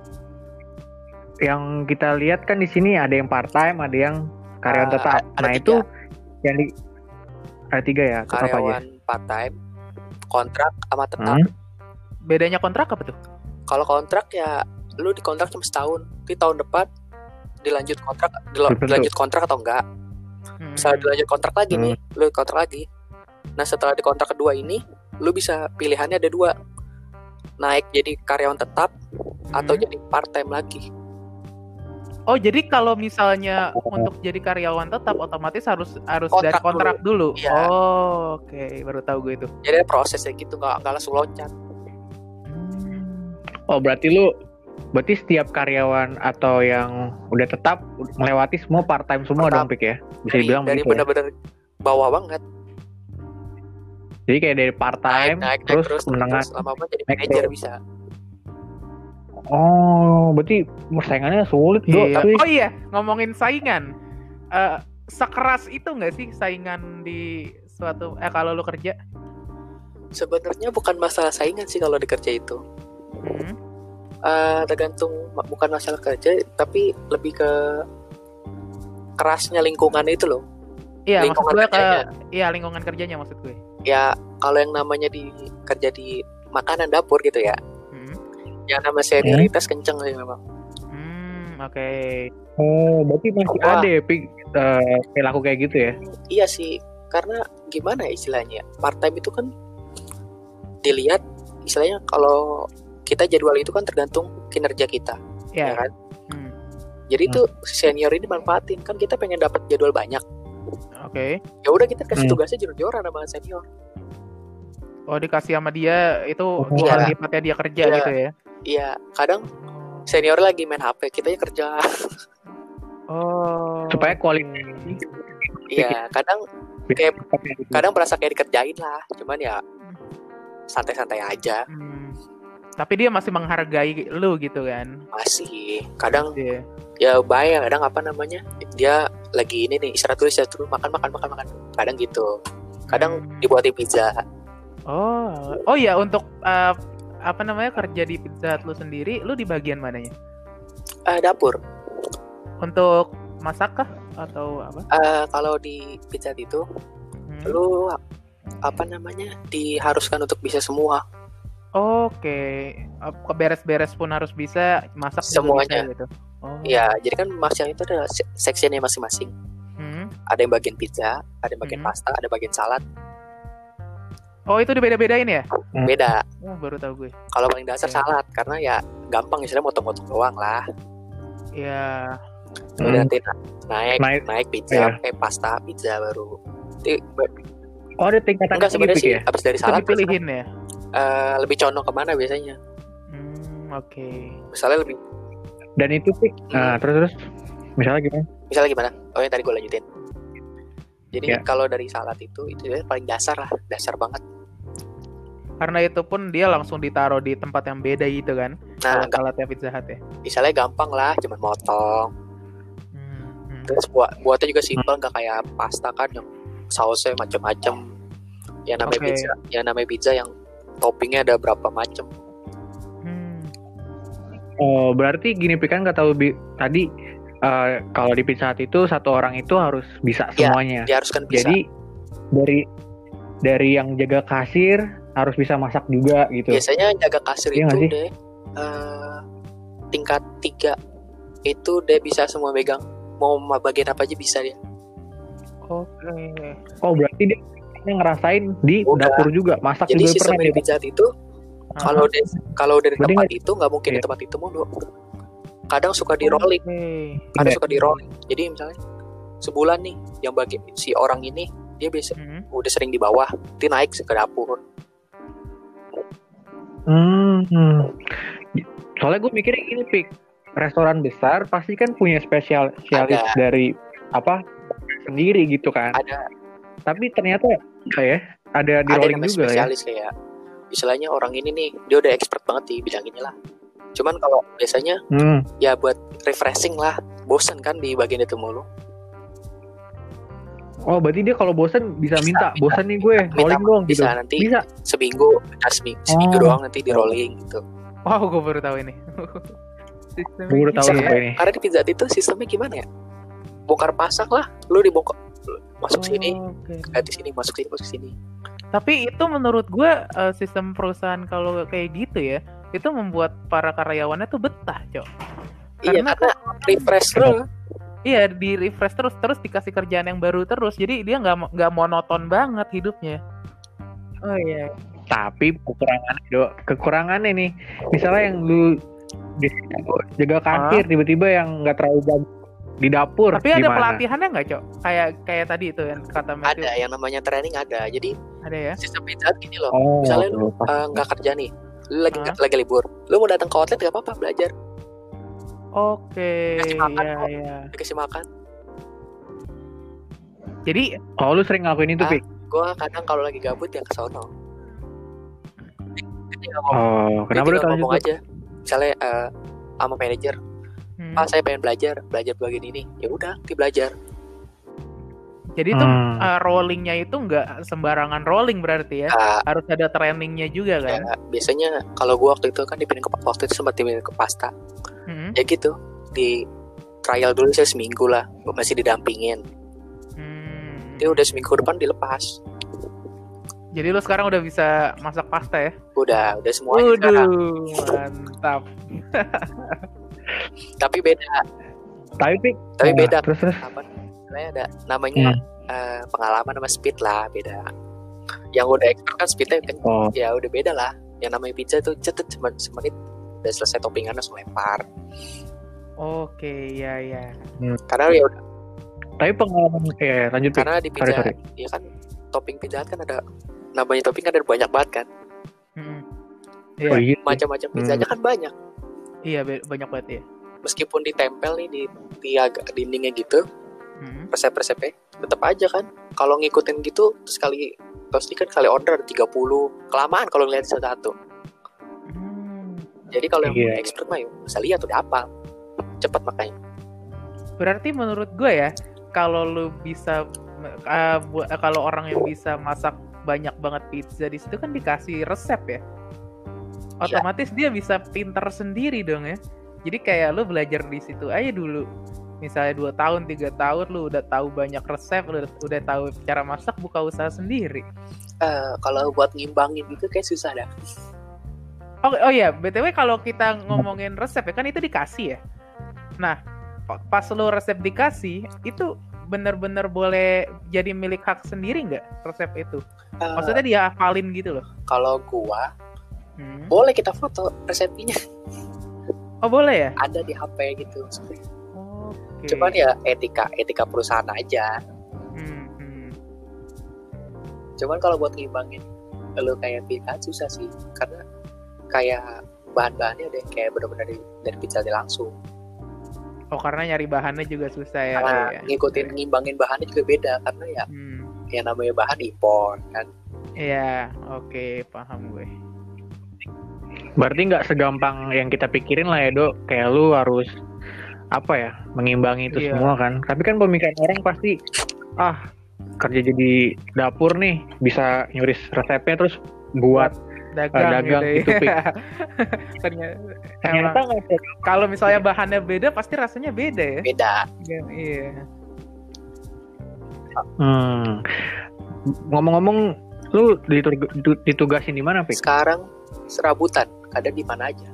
[SPEAKER 1] yang kita lihat kan di sini ada yang part time, ada yang karyawan
[SPEAKER 3] Ah,
[SPEAKER 1] tetap.
[SPEAKER 3] ada
[SPEAKER 1] nah
[SPEAKER 3] tiga.
[SPEAKER 1] itu yang di ada tiga ya, apa aja?
[SPEAKER 3] karyawan part time kontrak sama tetap
[SPEAKER 1] Hmm.
[SPEAKER 2] Bedanya kontrak apa tuh?
[SPEAKER 3] kalau kontrak ya lu dikontrak cuma setahun di tahun depan dilanjut kontrak dilo-
[SPEAKER 1] Dibentuk.
[SPEAKER 3] dilanjut kontrak atau enggak
[SPEAKER 2] Hmm.
[SPEAKER 3] misalnya dilanjut kontrak lagi
[SPEAKER 1] Hmm.
[SPEAKER 3] nih lu kontrak lagi nah setelah di kontrak kedua ini lu bisa pilihannya ada dua naik jadi karyawan tetap atau
[SPEAKER 2] Hmm.
[SPEAKER 3] jadi part time lagi
[SPEAKER 2] Oh, jadi kalau misalnya untuk jadi karyawan tetap otomatis harus harus dari
[SPEAKER 3] Kontrak
[SPEAKER 2] kontrak dulu.
[SPEAKER 3] Iya.
[SPEAKER 2] Oh, oke, baru tahu gue itu.
[SPEAKER 3] jadi ada prosesnya gitu nggak nggak langsung loncat
[SPEAKER 2] Hmm.
[SPEAKER 1] Oh berarti lu berarti setiap karyawan atau yang udah tetap melewati semua part time semua
[SPEAKER 3] Tetap.
[SPEAKER 1] dong Pik ya? Bisa
[SPEAKER 3] dari,
[SPEAKER 1] dibilang
[SPEAKER 3] dari
[SPEAKER 1] begitu. ya?
[SPEAKER 3] benar-benar bawah banget
[SPEAKER 1] Jadi kayak dari part time
[SPEAKER 3] naik naik
[SPEAKER 1] terus,
[SPEAKER 3] terus
[SPEAKER 1] menengah.
[SPEAKER 3] terus lama-lama jadi
[SPEAKER 1] naik
[SPEAKER 3] manajer bisa
[SPEAKER 1] Oh, berarti persaingannya sulit Do,
[SPEAKER 2] Iya.
[SPEAKER 1] tapi
[SPEAKER 2] Oh iya, ngomongin saingan. Eh, sekeras itu nggak sih saingan di suatu eh kalau lu kerja?
[SPEAKER 3] Sebenarnya bukan masalah saingan sih kalau di kerja itu.
[SPEAKER 2] Hmm.
[SPEAKER 3] Eh, tergantung ma- bukan masalah kerja tapi lebih ke kerasnya lingkungan itu loh.
[SPEAKER 2] Iya, maksud
[SPEAKER 3] lingkungan
[SPEAKER 2] gue ke
[SPEAKER 3] kerjanya.
[SPEAKER 2] iya lingkungan kerjanya maksud gue.
[SPEAKER 3] Ya kalau yang namanya di kerja di makanan dapur gitu ya.
[SPEAKER 2] Hmm.
[SPEAKER 3] Yang nama senioritas kenceng sih memang.
[SPEAKER 2] Hmm, oke.
[SPEAKER 1] oh, berarti masih
[SPEAKER 3] Wah.
[SPEAKER 1] ada ya pik, eh, perilaku kayak gitu ya.
[SPEAKER 3] Iya sih, karena gimana ya istilahnya? Part time itu kan dilihat istilahnya kalau kita jadwal itu kan tergantung kinerja kita, ya
[SPEAKER 2] Iya.
[SPEAKER 3] kan?
[SPEAKER 2] Hmm,
[SPEAKER 3] Jadi itu senior ini manfaatin kan kita pengen dapat jadwal banyak.
[SPEAKER 2] Oke.
[SPEAKER 3] Ya udah kita kasih
[SPEAKER 1] Hmm.
[SPEAKER 3] tugasnya jor-joran sama senior.
[SPEAKER 2] Oh, dikasih sama dia itu dua
[SPEAKER 1] Iya.
[SPEAKER 2] kali lipatnya dia kerja
[SPEAKER 3] Iya.
[SPEAKER 2] gitu ya.
[SPEAKER 3] Iya, kadang senior lagi main HP, kita kerja.
[SPEAKER 2] Oh.
[SPEAKER 1] Supaya kualitas
[SPEAKER 2] oke.
[SPEAKER 3] Iya, kadang Kayak-
[SPEAKER 1] gitu.
[SPEAKER 3] kadang merasa kayak dikerjain lah, cuman ya santai-santai aja
[SPEAKER 2] Hmm. Tapi dia masih menghargai lu gitu kan.
[SPEAKER 3] masih. Kadang
[SPEAKER 2] Iya.
[SPEAKER 3] ya bayang, kadang apa namanya? Dia lagi ini nih istirahat dulu, istirahat dulu, makan makan makan makan. Kadang gitu. Kadang
[SPEAKER 2] Hmm.
[SPEAKER 3] dibuatin pizza.
[SPEAKER 2] Oh, oh ya untuk eh, apa namanya kerja di Pizza Hut lu sendiri, lu di bagian mananya?
[SPEAKER 3] Eh, dapur.
[SPEAKER 2] Untuk masak kah atau apa?
[SPEAKER 3] Eh, kalau di pizza Hut itu
[SPEAKER 2] Hmm.
[SPEAKER 3] lu apa namanya? diharuskan untuk bisa semua.
[SPEAKER 2] Oke, Apa beres-beres pun harus bisa masak juga
[SPEAKER 3] Semuanya.
[SPEAKER 2] bisa gitu. Oh.
[SPEAKER 3] Ya, jadi kan masing itu ada se- sectionnya masing-masing.
[SPEAKER 2] Hmm.
[SPEAKER 3] Ada yang bagian pizza, ada yang bagian
[SPEAKER 2] Hmm.
[SPEAKER 3] pasta, ada bagian salad.
[SPEAKER 2] Oh itu dibeda-bedain ya?
[SPEAKER 3] Beda.
[SPEAKER 2] Wah baru tahu gue.
[SPEAKER 3] kalau paling dasar
[SPEAKER 2] Oke.
[SPEAKER 3] salad karena ya gampang istilahnya motong-motong doang lah
[SPEAKER 2] Ya,
[SPEAKER 3] Terus nanti na- naik
[SPEAKER 1] Hmm. Naik.
[SPEAKER 3] naik
[SPEAKER 1] Iya.
[SPEAKER 3] pizza eh pasta pizza baru Nanti-
[SPEAKER 1] Oh, ada tingkatan
[SPEAKER 3] enggak
[SPEAKER 1] lagi
[SPEAKER 3] sebenarnya
[SPEAKER 1] pik
[SPEAKER 3] sih
[SPEAKER 1] ya.
[SPEAKER 3] habis dari
[SPEAKER 2] itu
[SPEAKER 3] salad biasanya,
[SPEAKER 2] dipilihin ya.
[SPEAKER 3] eh, lebih condong kemana biasanya
[SPEAKER 2] Hmm, oke.
[SPEAKER 3] misalnya lebih
[SPEAKER 1] Dan itu pik.
[SPEAKER 3] Hmm.
[SPEAKER 1] Nah, terus terus misalnya gimana?
[SPEAKER 3] misalnya gimana oh yang tadi gue lanjutin jadi
[SPEAKER 1] Iya.
[SPEAKER 3] kalau dari salad itu itu ya paling dasar lah dasar banget
[SPEAKER 2] Karena itu pun dia langsung ditaruh di tempat yang beda gitu kan.
[SPEAKER 3] nah
[SPEAKER 1] Iya.
[SPEAKER 2] Kalau saladnya Pizza Hut ya.
[SPEAKER 3] ga- misalnya gampang lah cuman motong
[SPEAKER 2] Hmm, hmm.
[SPEAKER 3] terus buat buatnya
[SPEAKER 1] Hmm.
[SPEAKER 3] juga simpel nggak kayak pasta kan yang sausnya macam-macam yang namanya
[SPEAKER 2] Oke.
[SPEAKER 3] pizza yang namanya pizza yang toppingnya ada berapa macam
[SPEAKER 1] Nah,
[SPEAKER 2] Hmm.
[SPEAKER 1] Oh, berarti gini pik kan nggak tahu bi- tadi eh, kalau di pizza Hut itu satu orang itu harus bisa
[SPEAKER 3] Iya,
[SPEAKER 1] semuanya.
[SPEAKER 3] diharuskan bisa
[SPEAKER 1] Jadi dari dari yang jaga kasir harus bisa masak juga gitu.
[SPEAKER 3] biasanya jaga kasir
[SPEAKER 1] Iya
[SPEAKER 3] itu
[SPEAKER 1] nggak sih?
[SPEAKER 3] deh eh, tingkat tiga itu dia bisa semua megang mau ma- bagian apa aja bisa dia
[SPEAKER 2] Oke.
[SPEAKER 1] Oh, berarti dia dia ngerasain di
[SPEAKER 3] Udah.
[SPEAKER 1] dapur juga, masak
[SPEAKER 3] jadi
[SPEAKER 1] juga
[SPEAKER 3] sistem
[SPEAKER 1] pernah
[SPEAKER 3] yang
[SPEAKER 1] dia.
[SPEAKER 3] pijat itu
[SPEAKER 2] Ah,
[SPEAKER 3] kalau dia kalau dari
[SPEAKER 1] Berarti
[SPEAKER 3] tempat itu nggak mungkin di
[SPEAKER 1] Iya.
[SPEAKER 3] tempat itu mulu kadang suka di rolling
[SPEAKER 2] Nah, oke.
[SPEAKER 3] kadang
[SPEAKER 1] Iya.
[SPEAKER 3] suka di rolling jadi misalnya sebulan nih yang bagi si orang ini dia biasa
[SPEAKER 2] Hmm.
[SPEAKER 3] udah sering di bawah nanti naik ke dapur
[SPEAKER 1] Hmm, hmm. Soalnya gue mikirnya gini, Pik. Restoran besar pasti kan punya spesial spesialis
[SPEAKER 3] Ada.
[SPEAKER 1] dari apa sendiri gitu kan.
[SPEAKER 3] ada
[SPEAKER 1] Tapi ternyata kayak ada di
[SPEAKER 3] ada yang
[SPEAKER 1] rolling
[SPEAKER 3] namanya
[SPEAKER 1] juga ya.
[SPEAKER 3] spesialis kayak istilahnya orang ini nih dia udah expert banget di bidang inilah cuman kalau biasanya
[SPEAKER 1] Hmm.
[SPEAKER 3] ya buat refreshing lah bosan kan di bagian itu mulu
[SPEAKER 1] Oh, berarti dia kalau bosen bisa
[SPEAKER 3] Bisa,
[SPEAKER 1] minta,
[SPEAKER 3] minta.
[SPEAKER 1] bosen nih gue,
[SPEAKER 3] Minta,
[SPEAKER 1] rolling dong gitu.
[SPEAKER 3] bisa nanti
[SPEAKER 1] Bisa.
[SPEAKER 3] seminggu nah, semi- seminggu
[SPEAKER 1] Oh.
[SPEAKER 3] doang nanti di rolling gitu
[SPEAKER 2] Wow, gue baru tahu ini. Sistem
[SPEAKER 1] Gue udah tahu ya.
[SPEAKER 3] Bisa.
[SPEAKER 1] nih gue ini.
[SPEAKER 3] karena di pizza Hut itu sistemnya gimana ya bongkar pasang lah lu dibongkar lu masuk sini
[SPEAKER 2] Oke.
[SPEAKER 1] Oh.
[SPEAKER 3] ganti sini masuk sini masuk sini
[SPEAKER 2] Tapi itu menurut gue eh, sistem perusahaan kalau kayak gitu ya, itu membuat para karyawannya tuh betah, Cok.
[SPEAKER 3] iya
[SPEAKER 2] Karena
[SPEAKER 3] karena refresh lu
[SPEAKER 2] Iya, di refresh terus terus dikasih kerjaan yang baru terus. Jadi dia nggak mo- nggak monoton banget hidupnya. Oh iya.
[SPEAKER 1] tapi kekurangannya do kekurangannya nih misalnya yang lu di- jaga kasir tiba-tiba yang nggak terlalu bagus di dapur
[SPEAKER 2] Tapi ada
[SPEAKER 1] gimana?
[SPEAKER 2] pelatihannya nggak, Cok? Kayak kayak tadi itu yang kata Matthew.
[SPEAKER 3] ada ya. yang namanya training ada jadi
[SPEAKER 2] Ada ya.
[SPEAKER 3] sistem pizza Hut gini loh
[SPEAKER 1] oh
[SPEAKER 3] Misalnya
[SPEAKER 1] lu
[SPEAKER 3] eh, nggak kerja nih lu lagi
[SPEAKER 2] Hah?
[SPEAKER 3] lagi libur lu mau datang ke outlet gak apa-apa belajar
[SPEAKER 2] Oke,
[SPEAKER 3] Dikasih makan
[SPEAKER 2] iya
[SPEAKER 3] kok.
[SPEAKER 2] iya.
[SPEAKER 3] dikasih makan
[SPEAKER 2] Jadi
[SPEAKER 1] oh lu sering ngelakuin itu
[SPEAKER 3] Ah.
[SPEAKER 1] pik
[SPEAKER 3] gua kadang kalau lagi gabut ya ke sono Dia tinggal ngomong-
[SPEAKER 1] oh
[SPEAKER 3] dia
[SPEAKER 1] kenapa lu
[SPEAKER 3] tinggal
[SPEAKER 1] tahu
[SPEAKER 3] ngomong
[SPEAKER 1] itu
[SPEAKER 3] aja misalnya eh, sama manajer
[SPEAKER 2] Hmm.
[SPEAKER 3] ah saya pengen belajar belajar bagian ini ya udah nanti belajar
[SPEAKER 2] Jadi itu
[SPEAKER 1] Hmm.
[SPEAKER 2] eh, rollingnya itu nggak sembarangan rolling berarti ya.
[SPEAKER 3] Ah,
[SPEAKER 2] Harus ada trainingnya juga
[SPEAKER 3] ya,
[SPEAKER 2] kan.
[SPEAKER 3] biasanya kalau gua waktu itu kan dipindahin ke waktu itu sempat dipindahin ke pasta
[SPEAKER 2] Hmm.
[SPEAKER 3] ya gitu di trial dulu saya seminggu lah gua masih didampingin
[SPEAKER 2] Hmm.
[SPEAKER 3] dia udah seminggu depan dilepas
[SPEAKER 2] Jadi lo sekarang udah bisa masak pasta ya?
[SPEAKER 3] udah udah semuanya sekarang
[SPEAKER 2] Waduh, mantap.
[SPEAKER 3] tapi beda
[SPEAKER 1] Tapi Pik,
[SPEAKER 3] tapi
[SPEAKER 1] nah,
[SPEAKER 3] beda
[SPEAKER 1] Terus terus.
[SPEAKER 3] apa namanya ada namanya
[SPEAKER 1] Hmm.
[SPEAKER 3] eh, pengalaman sama speed lah beda yang udah expert kan speednya kan
[SPEAKER 1] Oh,
[SPEAKER 3] ya udah beda lah yang namanya pizza tuh cetet cuma semenit udah selesai toppingan langsung lempar
[SPEAKER 2] Oke, ya ya.
[SPEAKER 3] karena ya udah-
[SPEAKER 1] tapi pengalaman ya lanjut Pik.
[SPEAKER 3] karena di
[SPEAKER 1] Sorry
[SPEAKER 3] pizza
[SPEAKER 1] sorry.
[SPEAKER 3] ya kan topping pizza Hut kan ada namanya topping kan ada banyak banget kan
[SPEAKER 2] Hmm.
[SPEAKER 1] Oh, iya.
[SPEAKER 2] Iya,
[SPEAKER 3] macam-macam pizzanya kan banyak
[SPEAKER 2] iya be- banyak banget ya.
[SPEAKER 3] meskipun ditempel nih di di agak dindingnya gitu
[SPEAKER 2] Hmm.
[SPEAKER 3] resep-resepnya tetap aja kan kalau ngikutin gitu terus kali terus ini kan kali order ada 30 kelamaan kalau ngeliat satu-satu
[SPEAKER 2] Hmm.
[SPEAKER 3] jadi kalau yang
[SPEAKER 1] Iya.
[SPEAKER 3] expert mah ya bisa lihat udah apa cepat makanya
[SPEAKER 2] Berarti menurut gue ya, kalau lu bisa eh, bu- eh, kalau orang yang bisa masak banyak banget pizza di situ kan dikasih resep ya.
[SPEAKER 3] Iya.
[SPEAKER 2] Otomatis dia bisa pinter sendiri dong ya. Jadi kayak lu belajar di situ aja dulu. Misalnya dua tahun, tiga tahun lu udah tahu banyak resep, lu udah, udah tahu cara masak, buka usaha sendiri.
[SPEAKER 3] Eh, kalau buat ngimbangin gitu kayak susah dah
[SPEAKER 2] Oh, oh ya, BTW kalau kita ngomongin resep ya kan itu dikasih ya. Nah, pa- pas lo resep dikasih, itu bener-bener boleh jadi milik hak sendiri nggak resep itu?
[SPEAKER 3] Eh,
[SPEAKER 2] Maksudnya dia hafalin gitu loh.
[SPEAKER 3] kalau gua
[SPEAKER 2] Hmm.
[SPEAKER 3] boleh kita foto resepnya
[SPEAKER 2] Oh boleh ya?
[SPEAKER 3] ada di HP gitu
[SPEAKER 2] Hmm. Oke.
[SPEAKER 3] cuman ya etika etika perusahaan aja
[SPEAKER 2] Hmm, hmm.
[SPEAKER 3] cuman kalau buat ngimbangin lu kayak pizza Hut susah sih karena kayak bahan-bahannya deh kayak bener-bener dari, dari pizza Hut langsung
[SPEAKER 2] Oh karena nyari bahannya juga susah ya.
[SPEAKER 3] karena
[SPEAKER 2] iya.
[SPEAKER 3] ngikutin ngimbangin bahannya juga beda karena ya
[SPEAKER 2] Hmm.
[SPEAKER 3] yang namanya bahan impor kan
[SPEAKER 2] Iya, oke paham gue.
[SPEAKER 1] Berarti nggak segampang yang kita pikirin lah ya dok. Kayak lu harus apa ya mengimbangi itu
[SPEAKER 2] Iya.
[SPEAKER 1] semua kan. Tapi kan pemikiran orang pasti ah kerja jadi dapur nih bisa nyuris resepnya terus buat
[SPEAKER 2] Dagang,
[SPEAKER 1] Ah, dagang
[SPEAKER 2] gitu
[SPEAKER 1] gitu, Pik.
[SPEAKER 2] ya. Ternyata-
[SPEAKER 1] ternyata
[SPEAKER 2] emang.
[SPEAKER 1] nggak ada.
[SPEAKER 2] Kalau misalnya bahannya beda, pasti rasanya beda ya.
[SPEAKER 3] beda
[SPEAKER 2] Iya.
[SPEAKER 1] Hmm. ngomong-ngomong lu ditug- ditugasin di mana pik
[SPEAKER 3] sekarang serabutan kadang di mana aja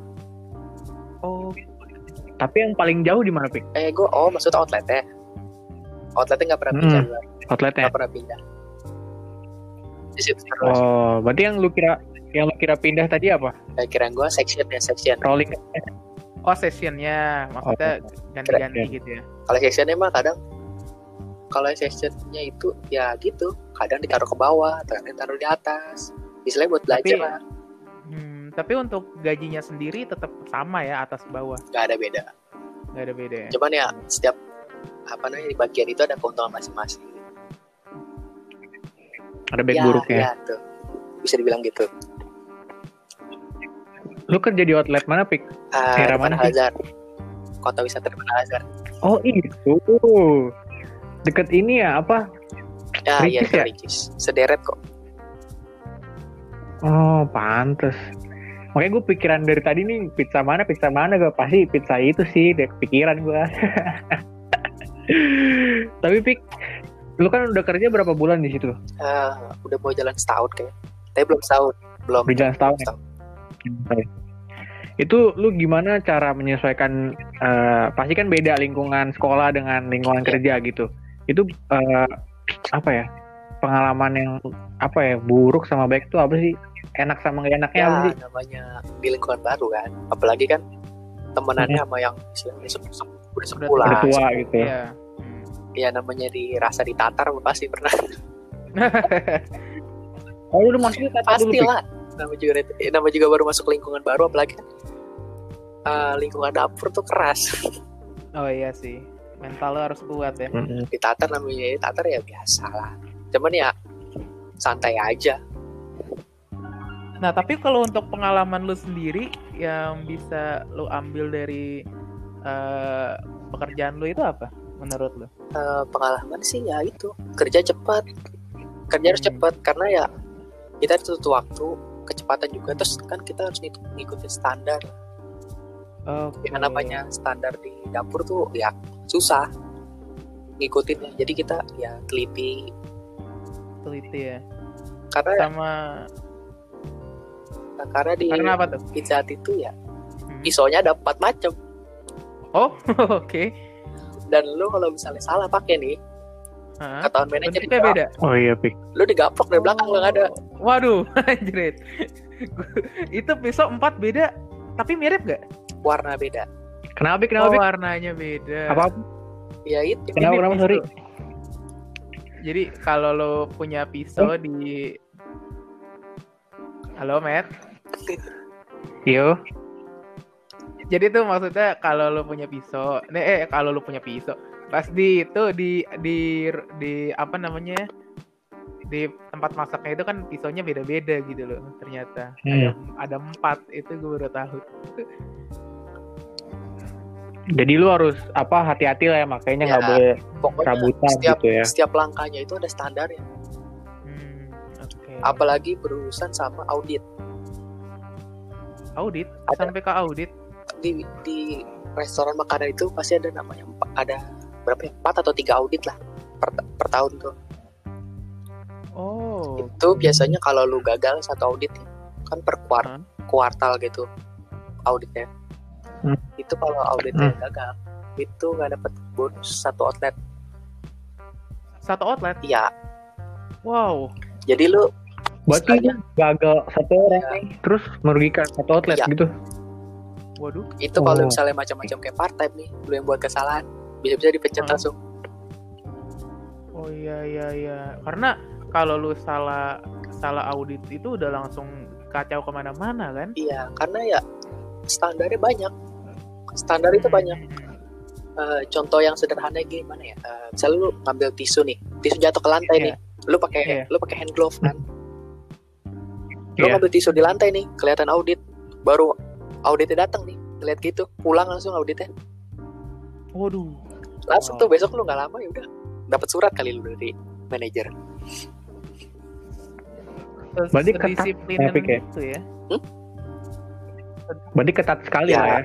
[SPEAKER 2] Oh,
[SPEAKER 1] tapi yang paling jauh di mana pik
[SPEAKER 3] eh gue oh maksudnya outletnya outletnya nggak pernah
[SPEAKER 1] Hmm.
[SPEAKER 3] pindah
[SPEAKER 1] outletnya
[SPEAKER 3] nggak pernah pindah di situ terus
[SPEAKER 1] oh berarti yang lu kira yang lu kira pindah tadi apa
[SPEAKER 3] Eh, kira gue section ya section
[SPEAKER 1] rolling
[SPEAKER 2] Oh sessionnya maksudnya
[SPEAKER 1] Oh,
[SPEAKER 2] ganti-ganti
[SPEAKER 1] Keren.
[SPEAKER 2] gitu ya.
[SPEAKER 3] kalau sectionnya mah kadang kalau sectionnya itu ya gitu kadang ditaruh ke bawah kadang ditaruh di atas istilahnya buat belajar
[SPEAKER 2] Tapi-
[SPEAKER 3] lah
[SPEAKER 2] Hmm, tapi untuk gajinya sendiri tetap sama ya atas bawah,
[SPEAKER 3] nggak ada beda
[SPEAKER 2] nggak ada beda ya.
[SPEAKER 3] cuman ya setiap apa namanya di bagian itu ada keuntungan masing-masing
[SPEAKER 1] ada back
[SPEAKER 3] ya,
[SPEAKER 1] buruknya
[SPEAKER 3] ya, tuh. bisa dibilang gitu
[SPEAKER 1] lu kerja di outlet mana pik
[SPEAKER 3] Ah,
[SPEAKER 1] Daerah
[SPEAKER 3] Taman
[SPEAKER 1] mana sih?
[SPEAKER 3] Hazard kota wisata Taman Hazard
[SPEAKER 1] oh itu deket ini ya apa
[SPEAKER 3] ya iya
[SPEAKER 1] Ricis ya?
[SPEAKER 3] Ricis sederet kok
[SPEAKER 1] oh pantes makanya gue pikiran dari tadi nih pizza mana pizza mana gue pasti pizza itu sih deh pikiran gue tapi pik lu kan udah kerja berapa bulan di situ
[SPEAKER 3] Eh, udah mau jalan setahun kayak tapi belum setahun belum
[SPEAKER 1] Udah jalan setahun ya? itu lu gimana cara menyesuaikan eh, pasti kan beda lingkungan sekolah dengan lingkungan kerja gitu itu eh, apa ya pengalaman yang apa ya buruk sama baik itu apa sih enak sama gak enaknya Eh,
[SPEAKER 3] ya
[SPEAKER 1] apa sih
[SPEAKER 3] namanya di lingkungan baru kan apalagi kan temenannya sama yang istilahnya se- se- udah sepulah
[SPEAKER 1] udah tua gitu ya
[SPEAKER 2] Iya.
[SPEAKER 3] ya namanya dirasa ditatar pasti pernah
[SPEAKER 1] oh lu maksudnya kata dulu
[SPEAKER 3] pasti
[SPEAKER 1] Pik.
[SPEAKER 3] lah nama juga eh, nama juga baru masuk lingkungan baru apalagi kan eh, lingkungan dapur tuh keras
[SPEAKER 2] Oh iya sih. Mental lo harus kuat ya.
[SPEAKER 1] Mm-mm.
[SPEAKER 3] ditatar namanya ditatar ya biasa lah cuman ya santai aja
[SPEAKER 2] Nah, tapi kalau untuk pengalaman lu sendiri yang bisa lu ambil dari eh, pekerjaan lu itu apa menurut lu?
[SPEAKER 3] Eh, pengalaman sih ya itu kerja cepat kerja harus
[SPEAKER 2] Hmm.
[SPEAKER 3] cepat karena ya kita dituntut waktu kecepatan juga terus kan kita harus ngik- ngikutin standar
[SPEAKER 2] Oke.
[SPEAKER 3] yang namanya standar di dapur tuh ya susah ngikutinnya jadi kita ya teliti
[SPEAKER 2] Teliti ya.
[SPEAKER 3] karena
[SPEAKER 2] Sama
[SPEAKER 3] karena di
[SPEAKER 2] karena apa tuh?
[SPEAKER 3] pizza Hut itu ya
[SPEAKER 2] Hmm.
[SPEAKER 3] isonya ada empat macam
[SPEAKER 2] Oh, oke.
[SPEAKER 3] dan lu kalau misalnya salah pakai nih
[SPEAKER 2] Hah?
[SPEAKER 3] ketahuan manajer "Ah,
[SPEAKER 2] Bentuknya beda.
[SPEAKER 1] Oh iya, Pik.
[SPEAKER 3] lu digapok dari belakang lu nggak ada
[SPEAKER 2] Oh. Waduh, anjrit. itu pisau empat beda tapi mirip gak?
[SPEAKER 3] warna beda
[SPEAKER 1] Kenapa, Pik? Kenapa,
[SPEAKER 2] Oh,
[SPEAKER 1] Pik?
[SPEAKER 3] iya.
[SPEAKER 2] warnanya beda.
[SPEAKER 1] Apa?
[SPEAKER 3] ya itu
[SPEAKER 1] Kenapa,
[SPEAKER 2] Ini
[SPEAKER 1] kenapa,
[SPEAKER 2] pisau.
[SPEAKER 1] sorry?
[SPEAKER 2] Jadi kalau lo punya pisau di Halo, Matt.
[SPEAKER 1] Yo.
[SPEAKER 2] Jadi tuh maksudnya kalau lo punya pisau, nih eh kalau lo punya pisau, pas di itu di di di apa namanya? di tempat masaknya itu kan pisaunya beda-beda gitu loh ternyata ada, ada empat itu gue baru tahu
[SPEAKER 1] Jadi lu harus apa hati-hati lah ya makanya nggak
[SPEAKER 3] Ya.
[SPEAKER 1] boleh
[SPEAKER 3] pokoknya
[SPEAKER 1] Rabutan
[SPEAKER 3] setiap
[SPEAKER 1] gitu ya.
[SPEAKER 3] setiap langkahnya itu ada standarnya
[SPEAKER 2] hmm, oke
[SPEAKER 3] apalagi berurusan sama audit
[SPEAKER 2] audit
[SPEAKER 3] Ada.
[SPEAKER 2] sampai ke audit
[SPEAKER 3] di di restoran makanan itu pasti ada namanya empa- ada berapa ya empat atau tiga audit lah per, per tahun tuh
[SPEAKER 2] oh
[SPEAKER 3] itu biasanya kalau lu gagal satu audit kan per kuar-
[SPEAKER 2] Hah?
[SPEAKER 3] kuartal gitu auditnya
[SPEAKER 1] Hmm.
[SPEAKER 3] itu kalau auditnya gagal itu nggak dapet bonus satu outlet
[SPEAKER 2] satu outlet
[SPEAKER 3] ya
[SPEAKER 2] wow
[SPEAKER 3] jadi lu ya,
[SPEAKER 1] berarti
[SPEAKER 3] istilahnya
[SPEAKER 1] gagal satu orang terus merugikan satu outlet
[SPEAKER 3] Ya.
[SPEAKER 1] gitu.
[SPEAKER 2] waduh
[SPEAKER 3] itu kalau
[SPEAKER 1] Oh.
[SPEAKER 3] misalnya macam-macam kayak part time nih lu yang buat kesalahan bisa-bisa dipecat
[SPEAKER 2] Hmm.
[SPEAKER 3] langsung
[SPEAKER 2] oh iya iya iya karena kalau lu salah salah audit itu udah langsung kacau kemana-mana kan
[SPEAKER 3] iya karena ya standarnya banyak standar itu
[SPEAKER 2] Hmm.
[SPEAKER 3] banyak Eh, contoh yang sederhana gimana ya? Eh, misalnya lu ngambil tisu nih, tisu jatuh ke lantai
[SPEAKER 2] Iya.
[SPEAKER 3] nih, lu pakai
[SPEAKER 2] Iya.
[SPEAKER 3] lu pakai hand glove kan? Lu
[SPEAKER 1] Iya.
[SPEAKER 3] ngambil tisu di lantai nih, kelihatan audit, baru auditnya datang nih, lihat gitu, pulang langsung auditnya,
[SPEAKER 2] waduh
[SPEAKER 3] langsung
[SPEAKER 2] Wow.
[SPEAKER 3] tuh besok lu nggak lama ya udah dapat surat kali lu dari manajer.
[SPEAKER 1] Berarti ketat
[SPEAKER 2] kedisiplinan
[SPEAKER 1] traffic ya?
[SPEAKER 2] gitu ya
[SPEAKER 1] Berarti ketat sekali
[SPEAKER 3] Ya.
[SPEAKER 1] lah ya.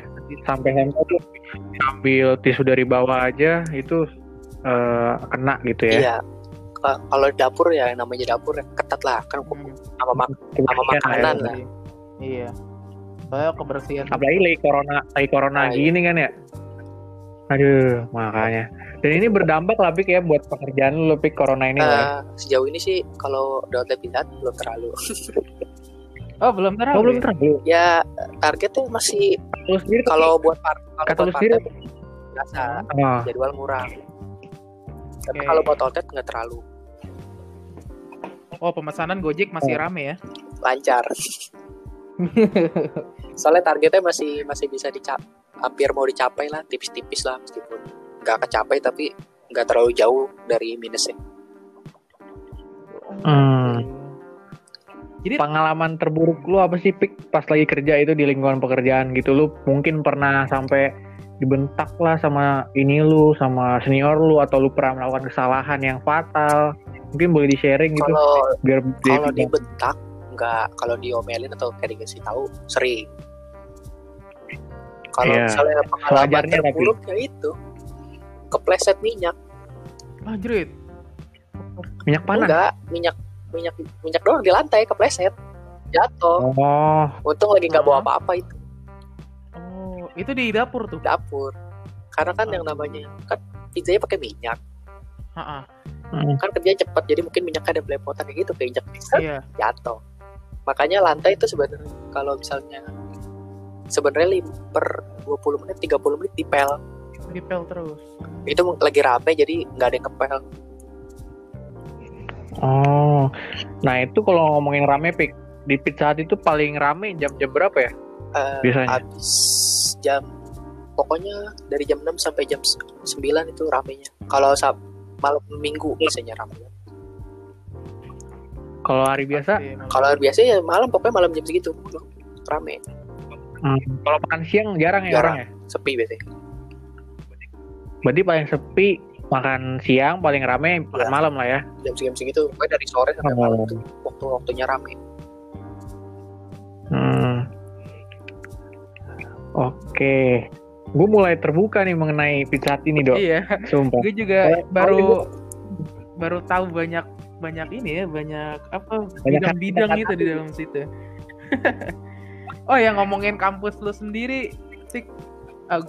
[SPEAKER 1] Sampai sampai tuh ambil tisu dari bawah aja itu eh, kena gitu ya.
[SPEAKER 3] Iya. Ka- Kalau dapur ya yang namanya dapur ya ketat lah kan
[SPEAKER 2] Hmm,
[SPEAKER 3] sama mak- Sama
[SPEAKER 1] Kebersihan lah ya.
[SPEAKER 3] makanan. lah.
[SPEAKER 2] iya soalnya kebersihan
[SPEAKER 1] Apalagi lagi corona, lagi corona
[SPEAKER 3] Nah, iya.
[SPEAKER 1] gini kan ya. Aduh, makanya. Dan ini berdampak lah Pik ya buat pekerjaan lu Pik corona ini lah.
[SPEAKER 3] eh, sejauh ini sih kalau daun pizza Hut belum terlalu.
[SPEAKER 2] oh belum terlalu
[SPEAKER 1] Oh, belum
[SPEAKER 2] ya?
[SPEAKER 1] terlalu.
[SPEAKER 3] Ya targetnya masih
[SPEAKER 1] Lu sendiri tuh,
[SPEAKER 3] kalau buat part kalau
[SPEAKER 1] Kata
[SPEAKER 3] buat
[SPEAKER 1] lu sendiri.
[SPEAKER 3] part-time, biasa.
[SPEAKER 1] ah,
[SPEAKER 3] jadwal murah. Tapi
[SPEAKER 2] Oke.
[SPEAKER 3] kalau buat outlet nggak terlalu
[SPEAKER 2] oh pemesanan gojek masih
[SPEAKER 1] Oh.
[SPEAKER 2] rame ya
[SPEAKER 3] lancar. Soalnya targetnya masih masih bisa dicap hampir mau dicapai lah, tipis-tipis lah meskipun nggak kecapai tapi nggak terlalu jauh dari minusnya.
[SPEAKER 1] Gitu. hmm.
[SPEAKER 2] jadi
[SPEAKER 1] pengalaman terburuk lu apa sih pik pas lagi kerja itu di lingkungan pekerjaan gitu lu mungkin pernah sampai dibentak lah sama ini lu sama senior lu atau lu pernah melakukan kesalahan yang fatal mungkin boleh di sharing gitu
[SPEAKER 3] Kalau
[SPEAKER 1] biar dia
[SPEAKER 3] kalau
[SPEAKER 1] tidak-
[SPEAKER 3] dibentak nggak, kalau diomelin atau kayak dikasih tahu sering. Kalau
[SPEAKER 1] Iya.
[SPEAKER 3] misalnya pengalaman
[SPEAKER 1] Sewajarnya tapi.
[SPEAKER 3] terburuk ya itu kepleset minyak,
[SPEAKER 2] Madrid
[SPEAKER 1] minyak panas
[SPEAKER 3] enggak minyak minyak minyak doang di lantai kepleset jatuh.
[SPEAKER 1] oh
[SPEAKER 3] Untung lagi nggak bawa
[SPEAKER 2] Hmm.
[SPEAKER 3] apa-apa itu.
[SPEAKER 2] oh itu di dapur tuh
[SPEAKER 3] dapur karena kan yang namanya kan pizzanya pakai minyak
[SPEAKER 2] Ha-ha,
[SPEAKER 3] kan kerja cepat jadi mungkin minyaknya ada belepotan kayak gitu keinjak set,
[SPEAKER 2] iya
[SPEAKER 3] jatuh makanya lantai itu sebenarnya kalau misalnya sebenarnya lim- per 20 menit 30 menit dipel
[SPEAKER 2] dipel terus
[SPEAKER 3] itu lagi rame jadi nggak ada yang kepel
[SPEAKER 1] oh nah itu kalau ngomongin rame pik di pizza Hut itu paling rame jam-jam berapa ya
[SPEAKER 3] Eh,
[SPEAKER 1] biasanya
[SPEAKER 3] habis jam pokoknya dari jam 6 sampai jam 9 itu ramenya kalau sab malam minggu biasanya ramenya
[SPEAKER 1] Kalau hari biasa,
[SPEAKER 2] Pasti emang.
[SPEAKER 3] Kalau hari biasa ya malam pokoknya malam jam segitu rame,
[SPEAKER 1] hmm, kalau makan siang jarang ya
[SPEAKER 3] Jarang.
[SPEAKER 1] orang ya.
[SPEAKER 3] sepi biasanya.
[SPEAKER 1] Berarti paling sepi makan siang, paling rame makan
[SPEAKER 3] Iya.
[SPEAKER 1] malam lah ya.
[SPEAKER 3] Jam segini segitu pokoknya dari sore sampai malam
[SPEAKER 1] Oh.
[SPEAKER 3] tuh waktu-waktunya rame.
[SPEAKER 1] Hmm. Oke. Gue mulai terbuka nih mengenai pizza Hut ini, Dok.
[SPEAKER 2] Iya,
[SPEAKER 1] Sumpah.
[SPEAKER 2] gue juga
[SPEAKER 1] Kalau-
[SPEAKER 2] baru baru tahu banyak banyak ini ya, banyak apa bidang-bidang gitu di dalam situ. oh ya ngomongin kampus lu sendiri, Sik. Eh,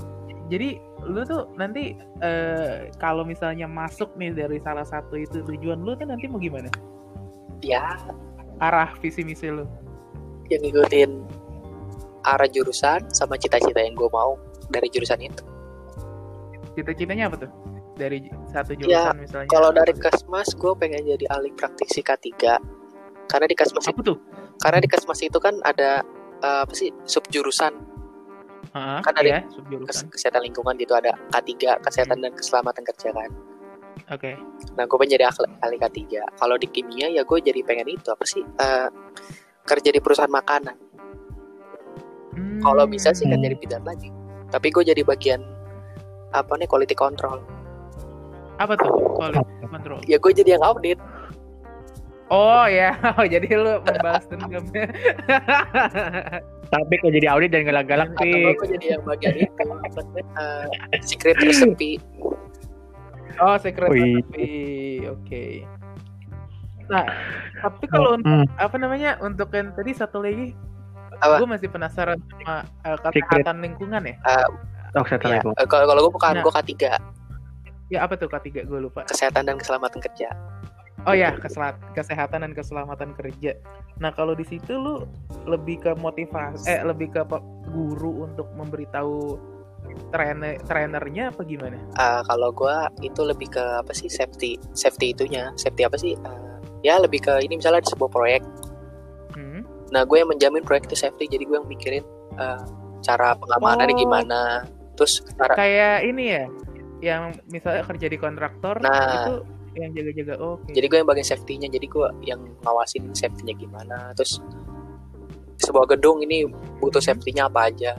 [SPEAKER 2] jadi lu tuh nanti eh, kalau misalnya masuk nih dari salah satu itu tujuan lu tuh nanti mau gimana?
[SPEAKER 3] Ya,
[SPEAKER 2] Arah visi misi lu.
[SPEAKER 3] yang ngikutin arah jurusan sama cita-cita yang gue mau dari jurusan itu.
[SPEAKER 2] Cita-citanya apa tuh? Dari j- satu jurusan misalnya.
[SPEAKER 3] Ya, Kalau dari Kasmas gue pengen jadi ahli praktisi K3. Karena di Kasmas
[SPEAKER 2] apa tuh?
[SPEAKER 3] karena di Kasmas itu kan ada eh, apa sih subjurusan
[SPEAKER 2] Heeh,
[SPEAKER 3] Kan dari-
[SPEAKER 2] ya,
[SPEAKER 3] kes-
[SPEAKER 2] subjurusan.
[SPEAKER 3] kesehatan lingkungan gitu ada K3 kesehatan dan keselamatan kerja kan.
[SPEAKER 2] Oke.
[SPEAKER 3] Nah, gue pengen jadi ahli, ahli K3. Kalau di kimia ya gue jadi pengen itu apa sih? Eh, kerja di perusahaan makanan. Kalau bisa sih
[SPEAKER 1] Hmm.
[SPEAKER 3] kerja di bidan lagi. Tapi gue jadi bagian apa nih quality control.
[SPEAKER 2] apa tuh? Quality control.
[SPEAKER 3] Ya gue jadi yang audit.
[SPEAKER 2] Oh ya, oh, jadi lu membahas ya? dendamnya.
[SPEAKER 1] Tapi kalau jadi audit dan galak-galak,
[SPEAKER 2] Iya,
[SPEAKER 3] Atau
[SPEAKER 1] Pik.
[SPEAKER 3] gue jadi yang bagian itu. Apa sih? Eh, secret recipe.
[SPEAKER 2] oh, secret
[SPEAKER 1] Wih.
[SPEAKER 2] recipe. Oke. Nah, tapi kalau untuk
[SPEAKER 1] Hmm.
[SPEAKER 2] apa namanya? Untuk yang tadi satu lagi,
[SPEAKER 3] Apa?
[SPEAKER 2] gue masih penasaran sama eh,
[SPEAKER 1] Secret.
[SPEAKER 2] kesehatan lingkungan ya.
[SPEAKER 1] Oh, saya
[SPEAKER 2] Iya.
[SPEAKER 3] Ya,
[SPEAKER 1] tahu, Bang.
[SPEAKER 3] eh, Kalau kalau gue bukan
[SPEAKER 2] Nah.
[SPEAKER 3] gue K3
[SPEAKER 2] Ya apa tuh ketiga gue lupa.
[SPEAKER 3] kesehatan dan keselamatan kerja.
[SPEAKER 2] Oh ya, kesela- kesehatan dan keselamatan kerja. Nah, kalau di situ lu lebih ke motivasi eh lebih ke pe- guru untuk memberitahu trainer trainernya apa gimana?
[SPEAKER 3] Eh, kalau gue itu lebih ke apa sih safety safety itunya safety apa sih? Eh, ya lebih ke ini misalnya di sebuah proyek
[SPEAKER 2] Hmm?
[SPEAKER 3] Nah, gue yang menjamin proyek itu safety, jadi gue yang mikirin eh, cara pengamanannya
[SPEAKER 2] Oh.
[SPEAKER 3] gimana, terus cara
[SPEAKER 2] Kayak ini ya, yang misalnya kerja di kontraktor
[SPEAKER 3] Nah.
[SPEAKER 2] itu yang jaga-jaga. oh, Oke.
[SPEAKER 3] jadi gue yang bagian safety-nya, jadi gue yang ngawasin safety-nya gimana, terus sebuah gedung ini butuh safety-nya apa aja.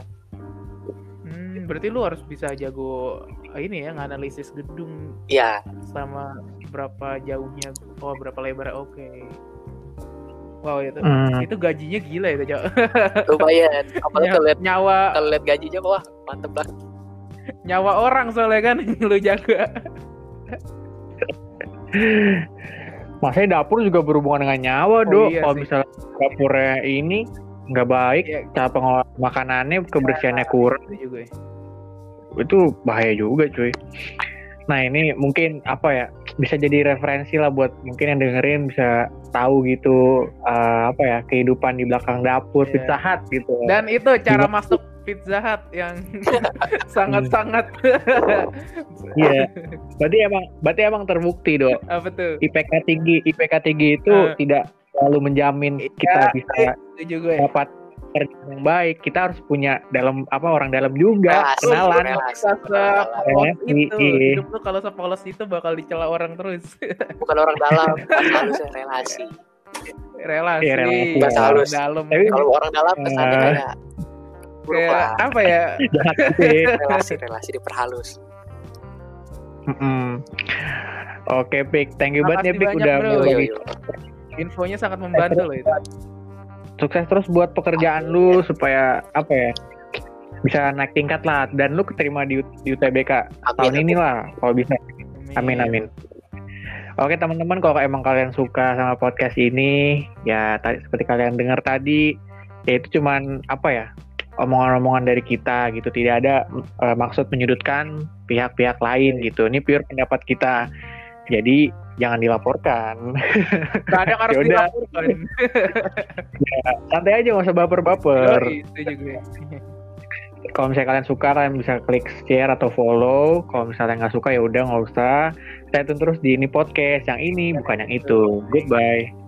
[SPEAKER 2] Hmm, berarti lu harus bisa jago eh, ini ya nganalisis gedung
[SPEAKER 3] Ya,
[SPEAKER 2] sama berapa jauhnya, oh berapa lebar. Oke. Wow itu.
[SPEAKER 1] Hmm.
[SPEAKER 2] Itu gajinya gila itu, Cok.
[SPEAKER 3] lumayan. Apalagi
[SPEAKER 2] Ya.
[SPEAKER 3] kalau lihat
[SPEAKER 2] nyawa
[SPEAKER 3] kalau lihat gajinya wah mantep lah.
[SPEAKER 2] nyawa orang soalnya kan lu jaga.
[SPEAKER 1] Masanya dapur juga berhubungan dengan nyawa,
[SPEAKER 2] Oh,
[SPEAKER 1] Dok.
[SPEAKER 2] iya
[SPEAKER 1] kalau
[SPEAKER 2] sih.
[SPEAKER 1] misalnya dapurnya ini nggak baik,
[SPEAKER 2] Iya.
[SPEAKER 1] cara pengolah makanannya, kebersihannya kurang,
[SPEAKER 2] Itu juga. ya.
[SPEAKER 1] itu bahaya juga cuy. Nah ini mungkin apa ya bisa jadi referensi lah buat mungkin yang dengerin bisa tahu gitu eh, apa ya kehidupan di belakang dapur
[SPEAKER 2] Iya.
[SPEAKER 1] Pizza Hut gitu.
[SPEAKER 2] Dan itu cara
[SPEAKER 1] Gimana?
[SPEAKER 2] masuk Pizza Hut yang sangat-sangat
[SPEAKER 1] Iya. Berarti emang berarti emang terbukti dok
[SPEAKER 2] apa tuh?
[SPEAKER 1] IPK tinggi IPK tinggi itu
[SPEAKER 2] Eh. Iya,
[SPEAKER 1] tidak selalu menjamin kita bisa
[SPEAKER 2] Itu juga ya.
[SPEAKER 1] dapat kerja yang baik. Kita harus punya dalam apa orang dalam juga
[SPEAKER 3] Relasi,
[SPEAKER 1] kenalan.
[SPEAKER 3] relasi.
[SPEAKER 1] Eh,
[SPEAKER 2] Sepolos
[SPEAKER 1] Relasi,
[SPEAKER 2] itu,
[SPEAKER 1] iya.
[SPEAKER 2] hidup lu kalau sepolos itu bakal dicela orang terus.
[SPEAKER 3] Bukan orang dalam, bahasa halusnya relasi.
[SPEAKER 2] relasi,
[SPEAKER 1] Iya, relasi.
[SPEAKER 3] Bahasa halus.
[SPEAKER 2] dalam. Iya,
[SPEAKER 1] Tapi
[SPEAKER 3] Kalau orang dalam kesannya
[SPEAKER 1] Eh.
[SPEAKER 3] kayak buruk
[SPEAKER 2] Kayak
[SPEAKER 3] lah.
[SPEAKER 2] apa ya?
[SPEAKER 1] Jahat gitu ya.
[SPEAKER 3] Relasi, relasi diperhalus.
[SPEAKER 1] Mm-mm. Oke, Pik. Thank you banget
[SPEAKER 2] Makasih
[SPEAKER 1] ya, Pik.
[SPEAKER 2] banyak,
[SPEAKER 1] Udah
[SPEAKER 2] Bro.
[SPEAKER 1] mau
[SPEAKER 3] Yo, yo,
[SPEAKER 1] bagi
[SPEAKER 3] yo.
[SPEAKER 2] Infonya sangat membantu loh itu.
[SPEAKER 1] sukses terus buat pekerjaan lu supaya apa ya bisa naik tingkat lah dan lu keterima di, U- di UTBK tahun
[SPEAKER 3] Amin.
[SPEAKER 1] ini lah kalau bisa amin amin oke teman-teman kalau emang kalian suka sama podcast ini ya tadi seperti kalian dengar tadi ya itu cuman apa ya omongan-omongan dari kita gitu tidak ada eh, maksud menyudutkan pihak-pihak lain gitu ini pure pendapat kita jadi jangan dilaporkan
[SPEAKER 2] Kadang harus
[SPEAKER 1] Yaudah.
[SPEAKER 2] dilaporkan.
[SPEAKER 1] santai aja nggak usah baper-baper
[SPEAKER 2] Yoi, Itu juga.
[SPEAKER 1] kalau misalnya kalian suka kalian bisa klik share atau follow kalau misalnya nggak suka ya udah nggak usah stay tune terus di ini podcast yang ini bukan yang itu goodbye